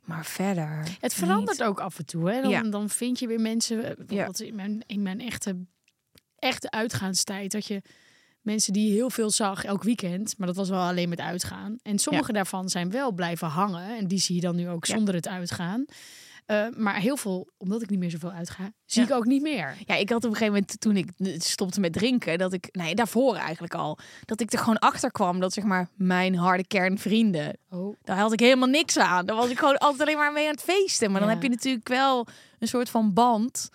Speaker 2: Maar verder...
Speaker 1: Het verandert
Speaker 2: niet.
Speaker 1: ook af en toe. Hè? Dan,
Speaker 2: Ja.
Speaker 1: dan vind je weer mensen. eh, Bijvoorbeeld in, mijn, in mijn echte, echte uitgaanstijd. Dat je mensen die je heel veel zag elk weekend. Maar dat was wel alleen met uitgaan. En sommige daarvan zijn wel blijven hangen. En die zie je dan nu ook zonder het uitgaan. Eh, maar heel veel, omdat ik niet meer zoveel uitga, zie
Speaker 2: Ja.
Speaker 1: ik ook niet meer.
Speaker 2: Ja, ik had op een gegeven moment toen ik eh, stopte met drinken, dat ik, nee, daarvoor eigenlijk al, dat ik er gewoon achter kwam dat zeg maar mijn harde kern vrienden,
Speaker 1: Oh.
Speaker 2: daar had ik helemaal niks aan. Daar was ik gewoon altijd alleen maar mee aan het feesten. Maar
Speaker 1: Ja.
Speaker 2: dan heb je natuurlijk wel een soort van band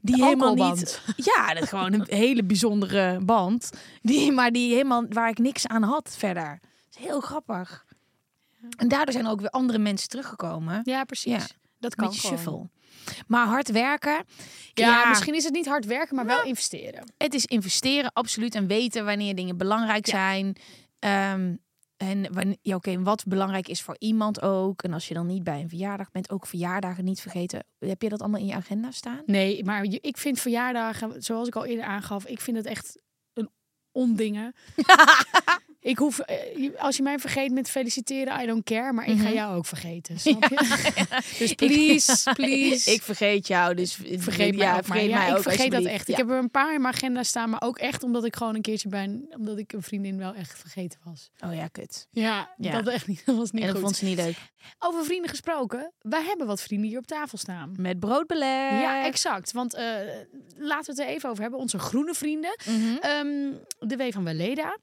Speaker 2: die
Speaker 1: De
Speaker 2: helemaal
Speaker 1: alcoholband.
Speaker 2: niet, ja, dat is gewoon een hele bijzondere band, die, maar die helemaal waar ik niks aan had verder. Dat is heel grappig. En daardoor zijn er ook weer andere mensen teruggekomen.
Speaker 1: Ja, precies.
Speaker 2: Ja.
Speaker 1: Dat kan
Speaker 2: Beetje
Speaker 1: gewoon.
Speaker 2: shuffle. Maar hard werken.
Speaker 1: Ja, misschien is het niet hard werken, maar wel investeren.
Speaker 2: Het is investeren, absoluut. En weten wanneer dingen belangrijk zijn. Ehm, en wanneer, ja, oké, wat belangrijk is voor iemand ook. En als je dan niet bij een verjaardag bent, ook verjaardagen niet vergeten. Heb je dat allemaal in je agenda staan?
Speaker 1: Nee, maar je- ik vind verjaardagen, zoals ik al eerder aangaf, ik vind het echt een ondingen. ik hoef, eh, je- als je mij vergeet met feliciteren, I don't care, maar ik ga jou ook vergeten. Snap je? dus please, please.
Speaker 2: Ik vergeet jou, dus
Speaker 1: vergeet mij,
Speaker 2: ja,
Speaker 1: ook maar.
Speaker 2: vergeet
Speaker 1: Ja,
Speaker 2: mij
Speaker 1: ik
Speaker 2: ook.
Speaker 1: vergeet dat
Speaker 2: alsjeblieft.
Speaker 1: echt.
Speaker 2: Ja.
Speaker 1: Ik heb er een paar in mijn agenda staan, maar ook echt omdat ik gewoon een keertje bij een, omdat ik een vriendin wel echt vergeten was.
Speaker 2: Oh ja, kut.
Speaker 1: Ja,
Speaker 2: Ja.
Speaker 1: dat echt niet. Dat was niet
Speaker 2: en dat
Speaker 1: goed.
Speaker 2: vond ze niet leuk.
Speaker 1: Over vrienden gesproken, wij hebben wat vrienden hier op tafel staan.
Speaker 2: Met broodbeleg.
Speaker 1: Ja, exact. Want eh, laten we het er even over hebben. Onze groene vrienden.
Speaker 2: Mhm.
Speaker 1: Ehm, de W van Weleda.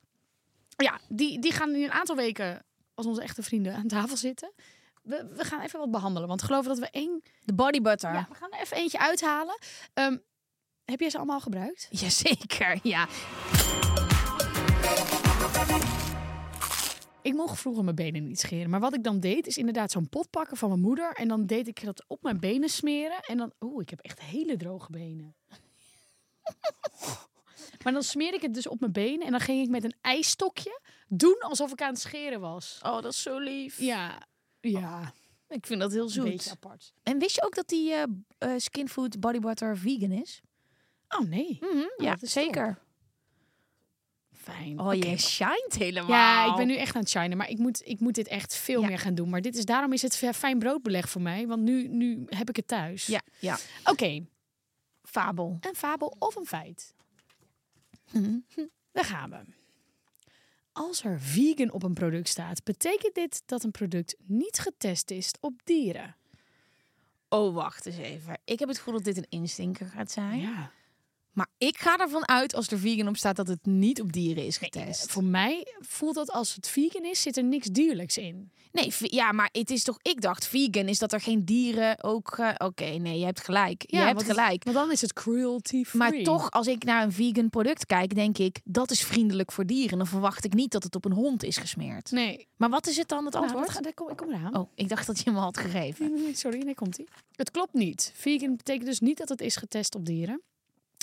Speaker 1: Ja, die, die gaan nu een aantal weken als onze echte vrienden aan tafel zitten. We, we gaan even wat behandelen. Want geloof dat we één...
Speaker 2: De body butter.
Speaker 1: Ja, we gaan er even eentje uithalen. Ehm, heb jij ze allemaal gebruikt?
Speaker 2: Jazeker, ja.
Speaker 1: Ik mocht vroeger mijn benen niet scheren. Maar wat ik dan deed, is inderdaad zo'n pot pakken van mijn moeder. En dan deed ik dat op mijn benen smeren. En dan... Oeh, ik heb echt hele droge benen. Maar dan smeer ik het dus op mijn been en dan ging ik met een ijsstokje doen alsof ik aan het scheren was.
Speaker 2: Oh, dat is zo lief. Oh,
Speaker 1: Ja, ja,
Speaker 2: Ik vind dat heel
Speaker 1: een beetje
Speaker 2: zoet.
Speaker 1: apart.
Speaker 2: En wist je ook dat die eh, b- eh, skinfood body butter vegan is?
Speaker 1: Oh nee,
Speaker 2: ja,
Speaker 1: dat is
Speaker 2: zeker.
Speaker 1: fijn.
Speaker 2: Oh, je
Speaker 1: Oké.
Speaker 2: shined helemaal.
Speaker 1: Ja, ik ben nu echt aan het shinen, maar ik moet, ik moet dit echt veel
Speaker 2: Ja.
Speaker 1: meer gaan doen. Maar dit is, daarom is het fi- fijn broodbeleg voor mij, want nu, nu heb ik het thuis.
Speaker 2: Ja, ja.
Speaker 1: Oké,
Speaker 2: Fabel.
Speaker 1: een fabel of een feit. Daar gaan we. Als er vegan op een product staat, betekent dit dat een product niet getest is op dieren.
Speaker 2: Oh, wacht eens even. Ik heb het gevoel dat dit een instinker gaat zijn.
Speaker 1: Ja.
Speaker 2: Maar ik ga ervan uit, als er vegan op staat, dat het niet op dieren is getest.
Speaker 1: eh, Voor mij voelt dat als het vegan is, zit er niks dierlijks in.
Speaker 2: Nee, ve- ja, maar het is toch... Ik dacht, vegan is dat er geen dieren ook... eh, Oké, nee, je hebt gelijk. je hebt
Speaker 1: want het-
Speaker 2: gelijk.
Speaker 1: want dan is het cruelty free.
Speaker 2: Maar toch, als ik naar een vegan product kijk, denk ik... dat is vriendelijk voor dieren. Dan verwacht ik niet dat het op een hond is gesmeerd.
Speaker 1: Nee,
Speaker 2: Maar wat is het dan, het
Speaker 1: Nou, dat
Speaker 2: antwoord?
Speaker 1: ga- daar kom, ik kom eraan.
Speaker 2: Oh, ik dacht dat je hem al had gegeven.
Speaker 1: Nee, nee, Sorry, nee, komt ie. Het klopt niet. Vegan betekent dus niet dat het is getest op dieren.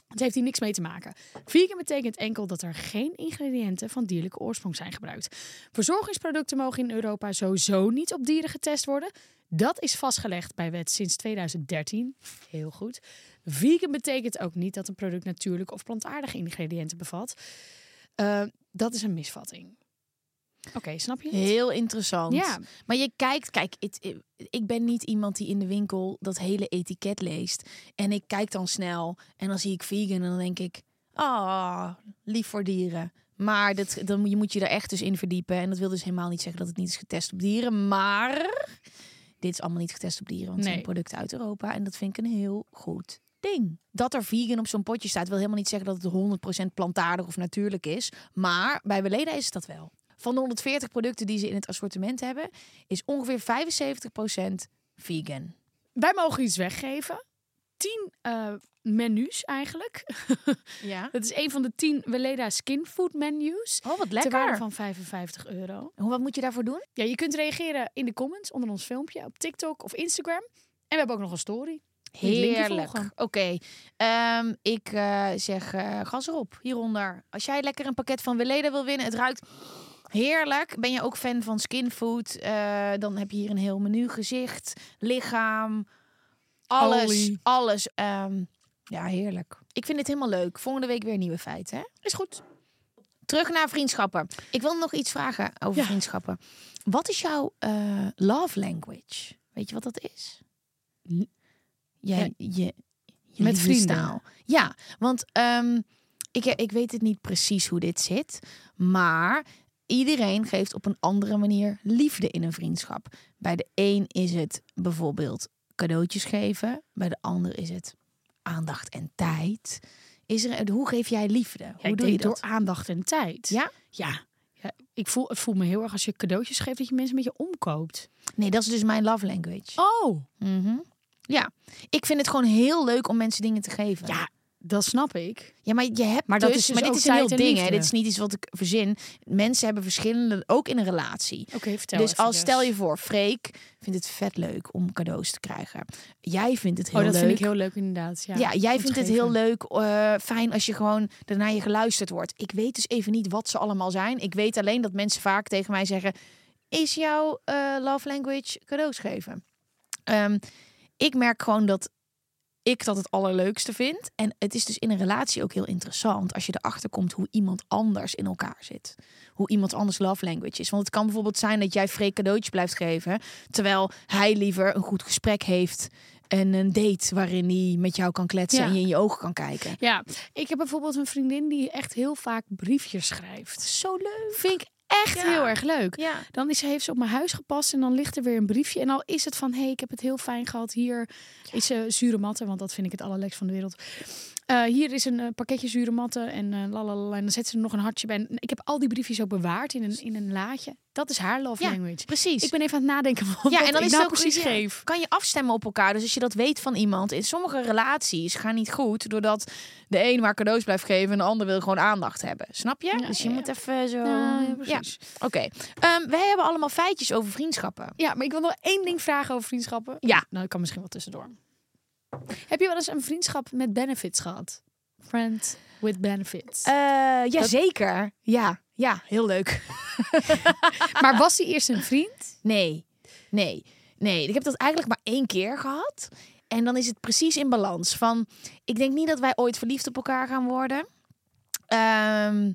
Speaker 1: Het heeft hier niks mee te maken. Vegan betekent enkel dat er geen ingrediënten van dierlijke oorsprong zijn gebruikt. Verzorgingsproducten mogen in Europa sowieso niet op dieren getest worden. Dat is vastgelegd bij wet sinds 2013. Heel goed. Vegan betekent ook niet dat een product natuurlijke of plantaardige ingrediënten bevat. Eh, dat is een misvatting. Oké, snap je? het?
Speaker 2: Heel interessant.
Speaker 1: Ja.
Speaker 2: Maar je kijkt, kijk, het- ik- ik ben niet iemand die in de winkel dat hele etiket leest. En ik kijk dan snel en dan zie ik vegan en dan denk ik, ah, lief voor dieren. Maar dat, dan moet je moet je er echt dus in verdiepen. En dat wil dus helemaal niet zeggen dat het niet is getest op dieren. Maar dit is allemaal niet getest op dieren, want het
Speaker 1: Nee.
Speaker 2: zijn producten uit Europa. En dat vind ik een heel goed ding. Dat er vegan op zo'n potje staat, wil helemaal niet zeggen dat het 100% plantaardig of natuurlijk is. Maar bij Weleda is het dat wel. Van de 140 producten die ze in het assortiment hebben, is ongeveer 75% vegan.
Speaker 1: Wij mogen iets weggeven. Tien eh, menus eigenlijk.
Speaker 2: Ja.
Speaker 1: Dat is een van de tien Weleda Skinfood menus.
Speaker 2: Oh, wat
Speaker 1: Ter waarde
Speaker 2: lekker.
Speaker 1: van 55 euro.
Speaker 2: Hoe- Wat moet je daarvoor doen?
Speaker 1: Ja, je kunt reageren in de comments onder ons filmpje. Op TikTok of Instagram. En we hebben ook nog een story. Moet je het linkje
Speaker 2: Heerlijk.
Speaker 1: volgen.
Speaker 2: Oké, ehm, ik eh, zeg eh, gas erop hieronder. Als jij lekker een pakket van Weleda wil winnen, het ruikt heerlijk. Ben je ook fan van skinfood? Eh dan heb je hier een heel menu gezicht, lichaam, alles,
Speaker 1: Olie.
Speaker 2: alles. Ehm, ja, heerlijk. Ik vind het helemaal leuk. Volgende week weer nieuwe feiten. Hè?
Speaker 1: Is goed.
Speaker 2: Terug naar vriendschappen. Ik wil nog iets vragen over
Speaker 1: Ja.
Speaker 2: vriendschappen. Wat is jouw eh, love language? Weet je wat dat is?
Speaker 1: N-
Speaker 2: Jij, je, je
Speaker 1: Met vrienden.
Speaker 2: liefdestaal. Ja, want ehm, ik, ik weet het niet precies hoe dit zit. Maar iedereen geeft op een andere manier liefde in een vriendschap. Bij de een is het bijvoorbeeld cadeautjes geven. Bij de ander is het aandacht en tijd. Is er, hoe geef jij liefde?
Speaker 1: Ja,
Speaker 2: hoe
Speaker 1: ik
Speaker 2: doe je
Speaker 1: denk
Speaker 2: dat?
Speaker 1: Door aandacht en tijd.
Speaker 2: Ja?
Speaker 1: Ja. ja ik voel, het voelt me heel erg als je cadeautjes geeft dat je mensen met je omkoopt.
Speaker 2: Nee, dat is dus mijn love language.
Speaker 1: Oh.
Speaker 2: Mhm. Ja, ik vind het gewoon heel leuk om mensen dingen te geven.
Speaker 1: Ja, dat snap ik.
Speaker 2: Ja, maar je hebt
Speaker 1: Maar
Speaker 2: maar
Speaker 1: dat
Speaker 2: dus,
Speaker 1: is dus
Speaker 2: maar dit
Speaker 1: ook
Speaker 2: is een heel
Speaker 1: tijd en
Speaker 2: ding, hè?
Speaker 1: liefde.
Speaker 2: Dit is niet iets wat ik verzin. Mensen hebben verschillende, ook in een relatie.
Speaker 1: Oké, vertel
Speaker 2: dus
Speaker 1: even
Speaker 2: als stel je voor, Freek vindt het vet leuk om cadeaus te krijgen. Jij vindt het heel
Speaker 1: Oh, dat
Speaker 2: leuk.
Speaker 1: vind ik heel leuk inderdaad. Ja,
Speaker 2: Ja, jij
Speaker 1: om te
Speaker 2: vindt het
Speaker 1: geven.
Speaker 2: heel leuk, eh, fijn als je gewoon daarna je geluisterd wordt. Ik weet dus even niet wat ze allemaal zijn. Ik weet alleen dat mensen vaak tegen mij zeggen: Is jouw eh, love language cadeaus geven? Ehm, ik merk gewoon dat ik dat het allerleukste vind. En het is dus in een relatie ook heel interessant als je erachter komt hoe iemand anders in elkaar zit. Hoe iemand anders love language is. Want het kan bijvoorbeeld zijn dat jij Freek cadeautjes blijft geven, terwijl hij liever een goed gesprek heeft en een date waarin hij met jou kan kletsen
Speaker 1: Ja.
Speaker 2: en je in je ogen kan kijken.
Speaker 1: Ja, ik heb bijvoorbeeld een vriendin die echt heel vaak briefjes schrijft.
Speaker 2: Zo leuk.
Speaker 1: Vind ik echt
Speaker 2: Ja.
Speaker 1: heel erg leuk.
Speaker 2: Ja.
Speaker 1: Dan is, heeft ze op mijn huis gepast en dan ligt er weer een briefje. En al is het van, hé, hey, ik heb het heel fijn gehad. Hier is eh, zure matten, want dat vind ik het allerlekst van de wereld. Eh, hier is een eh, pakketje zure matten en eh lalala. En dan zet ze er nog een hartje bij. En ik heb al die briefjes ook bewaard in een, in een laadje. Dat is haar love
Speaker 2: Ja,
Speaker 1: language.
Speaker 2: precies.
Speaker 1: Ik ben even aan het nadenken van
Speaker 2: ja,
Speaker 1: wat
Speaker 2: en dan
Speaker 1: ik
Speaker 2: is
Speaker 1: nou
Speaker 2: het ook
Speaker 1: precies
Speaker 2: ja,
Speaker 1: geef.
Speaker 2: Kan je afstemmen op elkaar. Dus als je dat weet van iemand. In sommige relaties gaan niet goed. Doordat de een maar cadeaus blijft geven. En de ander wil gewoon aandacht hebben. Snap je?
Speaker 1: Ja,
Speaker 2: dus je
Speaker 1: ja,
Speaker 2: moet even zo.
Speaker 1: Ja, ja, precies.
Speaker 2: Oké. Ehm, wij hebben allemaal feitjes over vriendschappen.
Speaker 1: Ja, maar ik wil nog één ding vragen over vriendschappen.
Speaker 2: Ja.
Speaker 1: Nou, ik kan misschien wel tussendoor. Heb je wel eens een vriendschap met benefits gehad? Friend with benefits. Eh,
Speaker 2: Jazeker. ja, zeker. Ja, ja, heel leuk.
Speaker 1: maar was hij eerst een vriend?
Speaker 2: Nee, nee, nee. Ik heb dat eigenlijk maar één keer gehad. En dan is het precies in balans. Van, ik denk niet dat wij ooit verliefd op elkaar gaan worden. Ehm,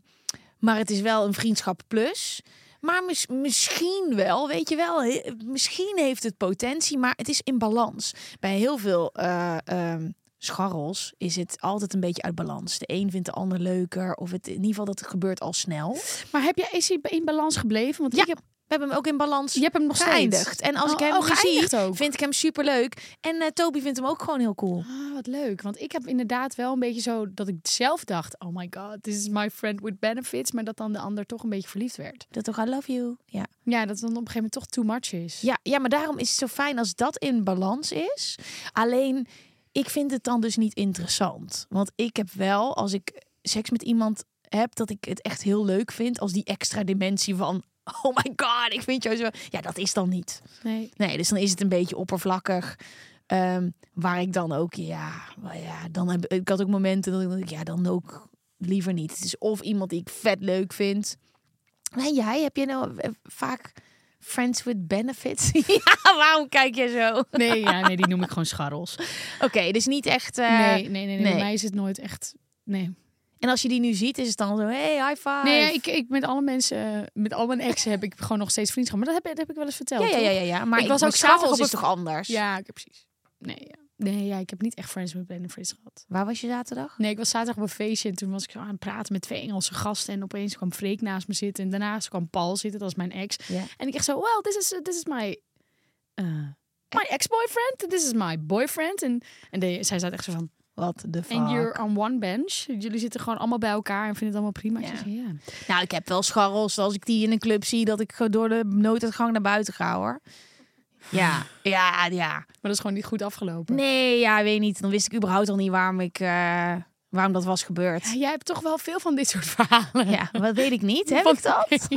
Speaker 2: maar het is wel een vriendschap plus. Maar mis- misschien wel, weet je wel. he- misschien heeft het potentie, maar het is in balans. Bij heel veel eh, ehm, scharrels is het altijd een beetje uit balans. De een vindt de ander leuker. Of het, in ieder geval, dat gebeurt al snel.
Speaker 1: Maar heb jij, is hij in balans gebleven? Want
Speaker 2: Ja.
Speaker 1: ik heb,
Speaker 2: We hebben hem ook in balans
Speaker 1: je hebt hem nog steeds.
Speaker 2: geëindigd. En als ik
Speaker 1: Oh,
Speaker 2: hem
Speaker 1: oh,
Speaker 2: nu zie,
Speaker 1: geëindigd ook.
Speaker 2: vind ik hem superleuk. En eh, Toby vindt hem ook gewoon heel cool.
Speaker 1: Ah, wat leuk. Want ik heb inderdaad wel een beetje zo dat ik zelf dacht... oh my god, this is my friend with benefits. Maar dat dan de ander toch een beetje verliefd werd.
Speaker 2: Dat toch, I love you. Ja.
Speaker 1: Ja, dat het dan op een gegeven moment toch too much is.
Speaker 2: Ja, ja, maar daarom is het zo fijn als dat in balans is. Alleen, ik vind het dan dus niet interessant. Want ik heb wel, als ik seks met iemand heb, dat ik het echt heel leuk vind. Als die extra dimensie van, oh my god, ik vind jou zo... Ja, dat is dan niet.
Speaker 1: Nee.
Speaker 2: Nee, dus dan is het een beetje oppervlakkig. Ehm, waar ik dan ook, ja, maar ja dan heb, ik had ook momenten dat ik dacht, ja, dan ook liever niet. Het is of iemand die ik vet leuk vind. En jij, heb je nou eh, vaak friends with benefits? ja, waarom kijk je zo? Oké,
Speaker 1: Nee, ja, nee, die noem ik gewoon scharrels.
Speaker 2: dus niet echt... eh,
Speaker 1: nee, nee, nee, nee,
Speaker 2: nee.
Speaker 1: Bij mij is het nooit echt... Nee,
Speaker 2: En als je die nu ziet, is het dan zo, hey, high five.
Speaker 1: nee ja, ik, ik met alle mensen, eh, met al mijn exen heb ik gewoon nog steeds vriendschap. Maar dat heb, dat heb ik wel eens verteld.
Speaker 2: ja, ja,
Speaker 1: toch?
Speaker 2: ja, ja, ja, maar
Speaker 1: Ik
Speaker 2: ik
Speaker 1: was
Speaker 2: was ook
Speaker 1: ook zaterdag
Speaker 2: s'avonds
Speaker 1: op
Speaker 2: is
Speaker 1: een-
Speaker 2: toch anders?
Speaker 1: Ja, ik heb precies. Nee, ja. nee ja, ik heb niet echt Friends with Benefits gehad.
Speaker 2: Waar was je zaterdag?
Speaker 1: Nee, ik was zaterdag op een feestje en toen was ik zo aan het praten met twee Engelse gasten. En opeens kwam Freek naast me zitten en daarnaast kwam Paul zitten, dat was mijn ex.
Speaker 2: Ja.
Speaker 1: En ik echt zo, well, this is, uh, this is my... eh, my ex-boyfriend, this is my boyfriend. En, en de- zij zat echt zo van,
Speaker 2: Wat de
Speaker 1: and you're on one bench. Jullie zitten gewoon allemaal bij elkaar en vinden het allemaal prima. Ik zei, Ja.
Speaker 2: Nou, ik heb wel scharrels. Als ik die in een club zie, dat ik gewoon door de nooduitgang naar buiten ga, hoor. Ja, ja, ja.
Speaker 1: Maar dat is gewoon niet goed afgelopen.
Speaker 2: Nee, ja, weet niet. Dan wist ik überhaupt al niet waarom ik, eh, waarom dat was
Speaker 1: Ja,
Speaker 2: gebeurd.
Speaker 1: jij hebt toch wel veel van dit soort verhalen.
Speaker 2: Ja, wat weet ik niet. Heb ik dat?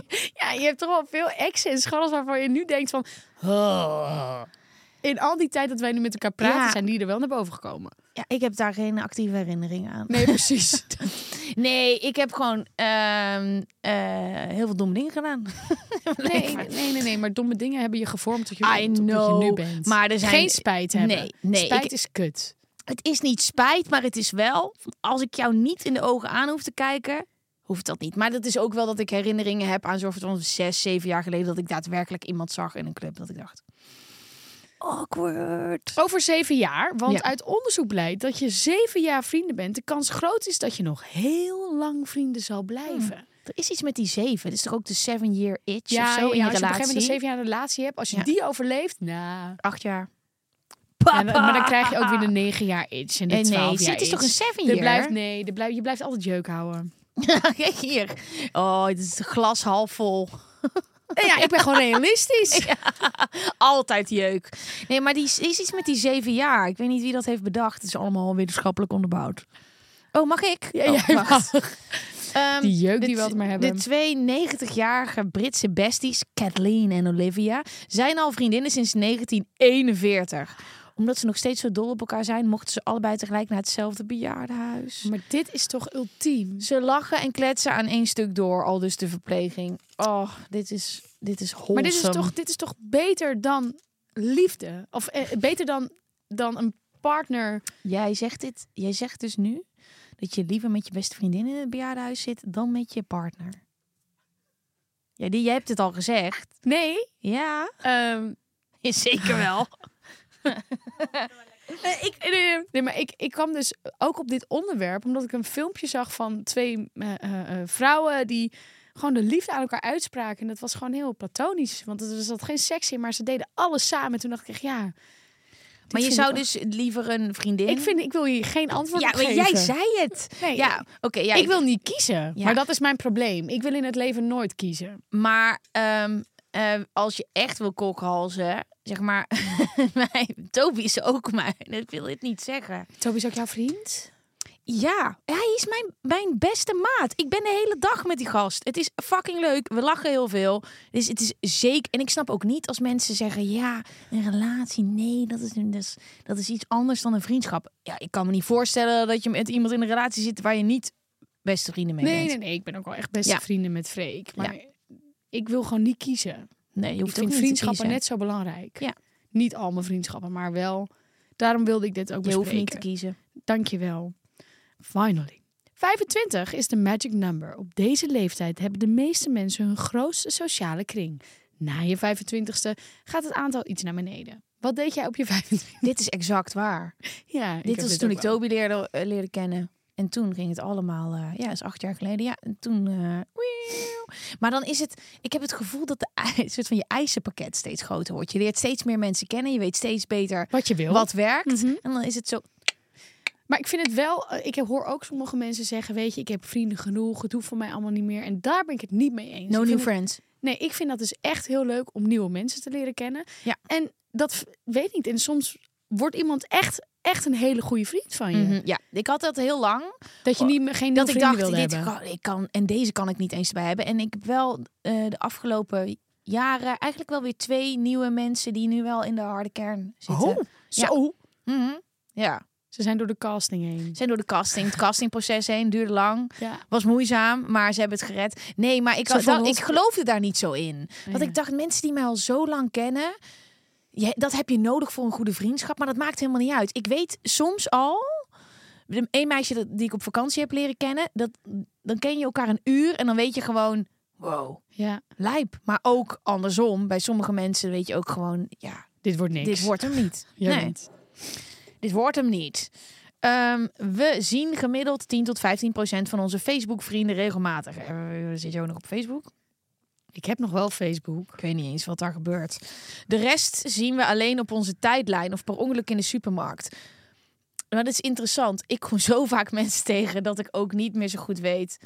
Speaker 1: Ja, je hebt toch wel veel exen en scharrels waarvan je nu denkt van... "Oh." In al die tijd dat wij nu met elkaar praten,
Speaker 2: Ja.
Speaker 1: zijn die er wel naar boven gekomen.
Speaker 2: Ja, ik heb daar geen actieve herinnering aan.
Speaker 1: Nee, precies.
Speaker 2: Nee, ik heb gewoon ehm, eh, heel veel domme dingen gedaan.
Speaker 1: nee, nee, nee, nee. Maar domme dingen hebben je gevormd tot, je,
Speaker 2: I
Speaker 1: tot
Speaker 2: know,
Speaker 1: je nu bent.
Speaker 2: maar er zijn-
Speaker 1: Geen spijt hebben.
Speaker 2: Nee, nee,
Speaker 1: Spijt
Speaker 2: ik-
Speaker 1: is kut.
Speaker 2: Het is niet spijt, maar het is wel. Als ik jou niet in de ogen aan hoef te kijken, hoeft dat niet. Maar dat is ook wel dat ik herinneringen heb aan zo'n van zes, zeven jaar geleden. dat ik daadwerkelijk iemand zag in een club. Dat ik dacht. Awkward.
Speaker 1: Over zeven jaar, want
Speaker 2: Ja.
Speaker 1: uit onderzoek blijkt dat je zeven jaar vrienden bent. De kans groot is dat je nog heel lang vrienden zal blijven.
Speaker 2: Er is iets met die zeven. Het is toch ook de seven year itch
Speaker 1: Ja,
Speaker 2: of zo
Speaker 1: ja,
Speaker 2: in
Speaker 1: als
Speaker 2: je
Speaker 1: je op een gegeven
Speaker 2: relatie?
Speaker 1: moment een zeven jaar relatie hebt, als je
Speaker 2: Ja.
Speaker 1: die overleeft, nou...
Speaker 2: Acht jaar.
Speaker 1: Ja, maar- maar dan krijg je ook weer de negen jaar iets en de
Speaker 2: Eh, nee,
Speaker 1: 12
Speaker 2: zie,
Speaker 1: jaar
Speaker 2: het is toch
Speaker 1: iets.
Speaker 2: een seven
Speaker 1: Er
Speaker 2: year?
Speaker 1: Blijft, nee, er blijft, je blijft altijd jeuk houden.
Speaker 2: Kijk hier. Oh, het is glas half vol.
Speaker 1: En ja, ik ben gewoon realistisch.
Speaker 2: Altijd jeuk. Nee, maar die is iets met die zeven jaar. Ik weet niet wie dat heeft bedacht. Het is allemaal wetenschappelijk onderbouwd. Oh, mag ik?
Speaker 1: Ja,
Speaker 2: Oh,
Speaker 1: jij
Speaker 2: wacht. Ehm,
Speaker 1: Die jeuk
Speaker 2: de
Speaker 1: die we
Speaker 2: t-
Speaker 1: altijd maar hebben.
Speaker 2: De twee 90-jarige Britse besties, Kathleen en Olivia, zijn al vriendinnen sinds 1941. Omdat ze nog steeds zo dol op elkaar zijn, mochten ze allebei tegelijk naar hetzelfde bejaardenhuis.
Speaker 1: Maar dit is toch ultiem?
Speaker 2: Mm. Ze lachen en kletsen aan één stuk door, al dus de verpleging. Oh, dit is, dit is wholesome.
Speaker 1: Maar dit is, toch, dit is toch beter dan liefde? Of eh, beter dan, dan een partner?
Speaker 2: Jij zegt dit, jij zegt dus nu dat je liever met je beste vriendin in het bejaardenhuis zit dan met je partner. Ja, die, jij hebt het al gezegd.
Speaker 1: Nee.
Speaker 2: Ja,
Speaker 1: ehm,
Speaker 2: zeker wel.
Speaker 1: eh, ik, nee, nee, nee. Nee, maar ik, ik kwam dus ook op dit onderwerp omdat ik een filmpje zag van twee eh, eh, eh, vrouwen die gewoon de liefde aan elkaar uitspraken. En dat was gewoon heel platonisch. Want er zat geen seks in, maar ze deden alles samen. En toen dacht ik echt, ja. dit
Speaker 2: Maar je
Speaker 1: vind
Speaker 2: zou
Speaker 1: ik-
Speaker 2: dus liever een vriendin.
Speaker 1: Ik, vind, ik wil hier geen antwoord
Speaker 2: ja,
Speaker 1: op
Speaker 2: maar
Speaker 1: geven.
Speaker 2: jij zei het.
Speaker 1: Nee,
Speaker 2: ja, oké. ja,
Speaker 1: ik wil niet kiezen.
Speaker 2: Ja.
Speaker 1: Maar dat is mijn probleem. Ik wil in het leven nooit kiezen.
Speaker 2: Maar ehm, eh, als je echt wil kokhalzen, zeg maar. Toby is ook maar. Dat wil ik niet zeggen.
Speaker 1: Toby is ook jouw vriend?
Speaker 2: Ja, hij is mijn, mijn beste maat. Ik ben de hele dag met die gast. Het is fucking leuk. We lachen heel veel. Dus het is zeker. En ik snap ook niet als mensen zeggen: ja, een relatie. Nee, dat is, een- dat is, dat is iets anders dan een vriendschap. Ja, ik kan me niet voorstellen dat je met iemand in een relatie zit waar je niet beste vrienden mee
Speaker 1: Nee,
Speaker 2: bent.
Speaker 1: nee, nee. Ik ben ook wel echt beste
Speaker 2: Ja.
Speaker 1: vrienden met Freek. Maar ik wil gewoon niet kiezen.
Speaker 2: nee je
Speaker 1: Ik
Speaker 2: hoeft ook
Speaker 1: vind
Speaker 2: niet
Speaker 1: vriendschappen
Speaker 2: te
Speaker 1: net
Speaker 2: kiezen.
Speaker 1: zo belangrijk.
Speaker 2: Ja.
Speaker 1: Niet al mijn vriendschappen, maar wel. Daarom wilde ik dit ook
Speaker 2: Je
Speaker 1: bespreken.
Speaker 2: hoeft niet te kiezen.
Speaker 1: Dankjewel. Finally. 25 is de magic number. Op deze leeftijd hebben de meeste mensen hun grootste sociale kring. Na je 25ste gaat het aantal iets naar beneden. Wat deed jij op je 25
Speaker 2: Dit is exact waar.
Speaker 1: Ja,
Speaker 2: dit was toen ik Toby leerde, eh, leerde kennen. En toen ging het allemaal, eh, ja, is acht jaar geleden. Ja, en toen. eh, wieuw. maar dan is het, ik heb het gevoel dat de ei- soort van je eisenpakket steeds groter wordt. Je leert steeds meer mensen kennen, je weet steeds beter
Speaker 1: Wat je wil.
Speaker 2: wat werkt.
Speaker 1: Mhm.
Speaker 2: En dan is het zo,
Speaker 1: Dus Maar ik vind het wel, eh, ik hoor ook sommige mensen zeggen, weet je, ik heb vrienden genoeg, het hoeft voor mij allemaal niet meer. En daar ben ik het niet mee eens.
Speaker 2: no
Speaker 1: Ik
Speaker 2: new
Speaker 1: vind het-
Speaker 2: friends.
Speaker 1: Nee, ik vind dat dus echt heel leuk om nieuwe mensen te leren kennen.
Speaker 2: Ja.
Speaker 1: En dat v- weet ik niet. En soms wordt iemand echt, echt een hele goede vriend van je.
Speaker 2: Mhm, Ja, ik had dat heel lang.
Speaker 1: Dat je niet, meer- geen nieuwe
Speaker 2: dat ik
Speaker 1: vrienden
Speaker 2: dacht,
Speaker 1: wilde
Speaker 2: dit
Speaker 1: hebben.
Speaker 2: kan, ik kan, en deze kan ik niet eens bij hebben. En ik heb wel eh, de afgelopen jaren eigenlijk wel weer twee nieuwe mensen die nu wel in de harde kern zitten.
Speaker 1: Oh, zo.
Speaker 2: Mhm. Ja.
Speaker 1: Ze zijn door de casting heen.
Speaker 2: zijn door de casting, het castingproces heen, duurde lang.
Speaker 1: Ja.
Speaker 2: Was moeizaam, maar ze hebben het gered. Nee, maar ik,
Speaker 1: Zo van
Speaker 2: dat,
Speaker 1: ons-
Speaker 2: ik geloofde daar niet zo in. Want
Speaker 1: Ja.
Speaker 2: ik dacht, mensen die mij al zo lang kennen, je, dat heb je nodig voor een goede vriendschap. Maar dat maakt helemaal niet uit. Ik weet soms al, een meisje dat, die ik op vakantie heb leren kennen, dat, dan ken je elkaar een uur en dan weet je gewoon, wow,
Speaker 1: Ja,
Speaker 2: lijp. Maar ook andersom, bij sommige mensen weet je ook gewoon, ja,
Speaker 1: dit wordt niks.
Speaker 2: dit wordt hem niet.
Speaker 1: Ja,
Speaker 2: nee.
Speaker 1: want-
Speaker 2: Dit wordt hem niet. Ehm, we zien gemiddeld 10 tot 15 procent van onze Facebook-vrienden regelmatig. Eh, Zit je ook nog op Facebook?
Speaker 1: Ik heb nog wel Facebook.
Speaker 2: Ik weet niet eens wat daar gebeurt. De rest zien we alleen op onze tijdlijn of per ongeluk in de supermarkt. Maar dat is interessant. Ik kom zo vaak mensen tegen dat ik ook niet meer zo goed weet.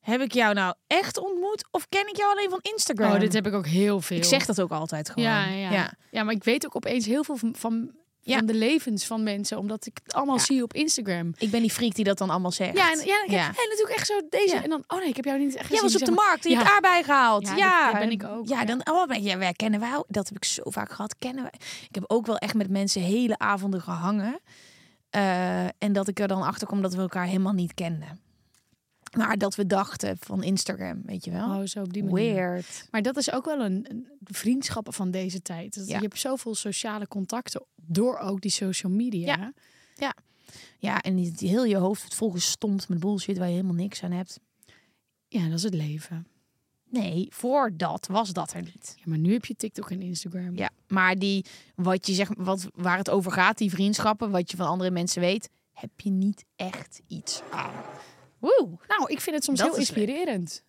Speaker 2: Heb ik jou nou echt ontmoet of ken ik jou alleen van Instagram?
Speaker 1: Oh, dit heb ik ook heel veel.
Speaker 2: ik zeg dat ook altijd gewoon.
Speaker 1: Ja, ja. ja. ja, maar ik weet ook opeens heel veel van, van,
Speaker 2: Ja.
Speaker 1: van de levens van mensen. Omdat ik het allemaal
Speaker 2: Ja.
Speaker 1: zie op Instagram.
Speaker 2: Ik ben die freak die dat dan allemaal zegt.
Speaker 1: Ja, en, ja, en,
Speaker 2: Ja.
Speaker 1: en natuurlijk echt zo deze.
Speaker 2: Ja.
Speaker 1: En dan, oh nee, ik heb jou niet echt gezien.
Speaker 2: Jij was op de
Speaker 1: Zeg maar,
Speaker 2: markt, die
Speaker 1: Ja.
Speaker 2: hebt aardbei gehaald.
Speaker 1: Ja,
Speaker 2: Ja,
Speaker 1: dat- dat ben ik ook,
Speaker 2: Ja,
Speaker 1: ja.
Speaker 2: dan oh, maar ja, wij kennen wij. ook. Dat heb ik zo vaak gehad. Kennen wij. Ik heb ook wel echt met mensen hele avonden gehangen. Eh, en dat ik er dan achter kom dat we elkaar helemaal niet kenden. Maar dat we dachten van Instagram, weet je wel.
Speaker 1: Oh, zo op die manier.
Speaker 2: Weird.
Speaker 1: Maar dat is ook wel een, een- de vriendschappen van deze tijd. Dat
Speaker 2: Ja.
Speaker 1: Je hebt zoveel sociale contacten door ook die social media.
Speaker 2: Ja. Ja, en die, die heel je hoofd wordt volgestompt met bullshit waar je helemaal niks aan hebt.
Speaker 1: ja, dat is het leven.
Speaker 2: Nee, voordat was dat er niet.
Speaker 1: Ja, maar nu heb je TikTok en Instagram.
Speaker 2: Ja, maar die wat je zegt, wat waar het over gaat, die vriendschappen, wat je van andere mensen weet, heb je niet echt iets aan. Woe.
Speaker 1: Nou, ik vind het soms
Speaker 2: Dat
Speaker 1: heel
Speaker 2: is leuk.
Speaker 1: inspirerend.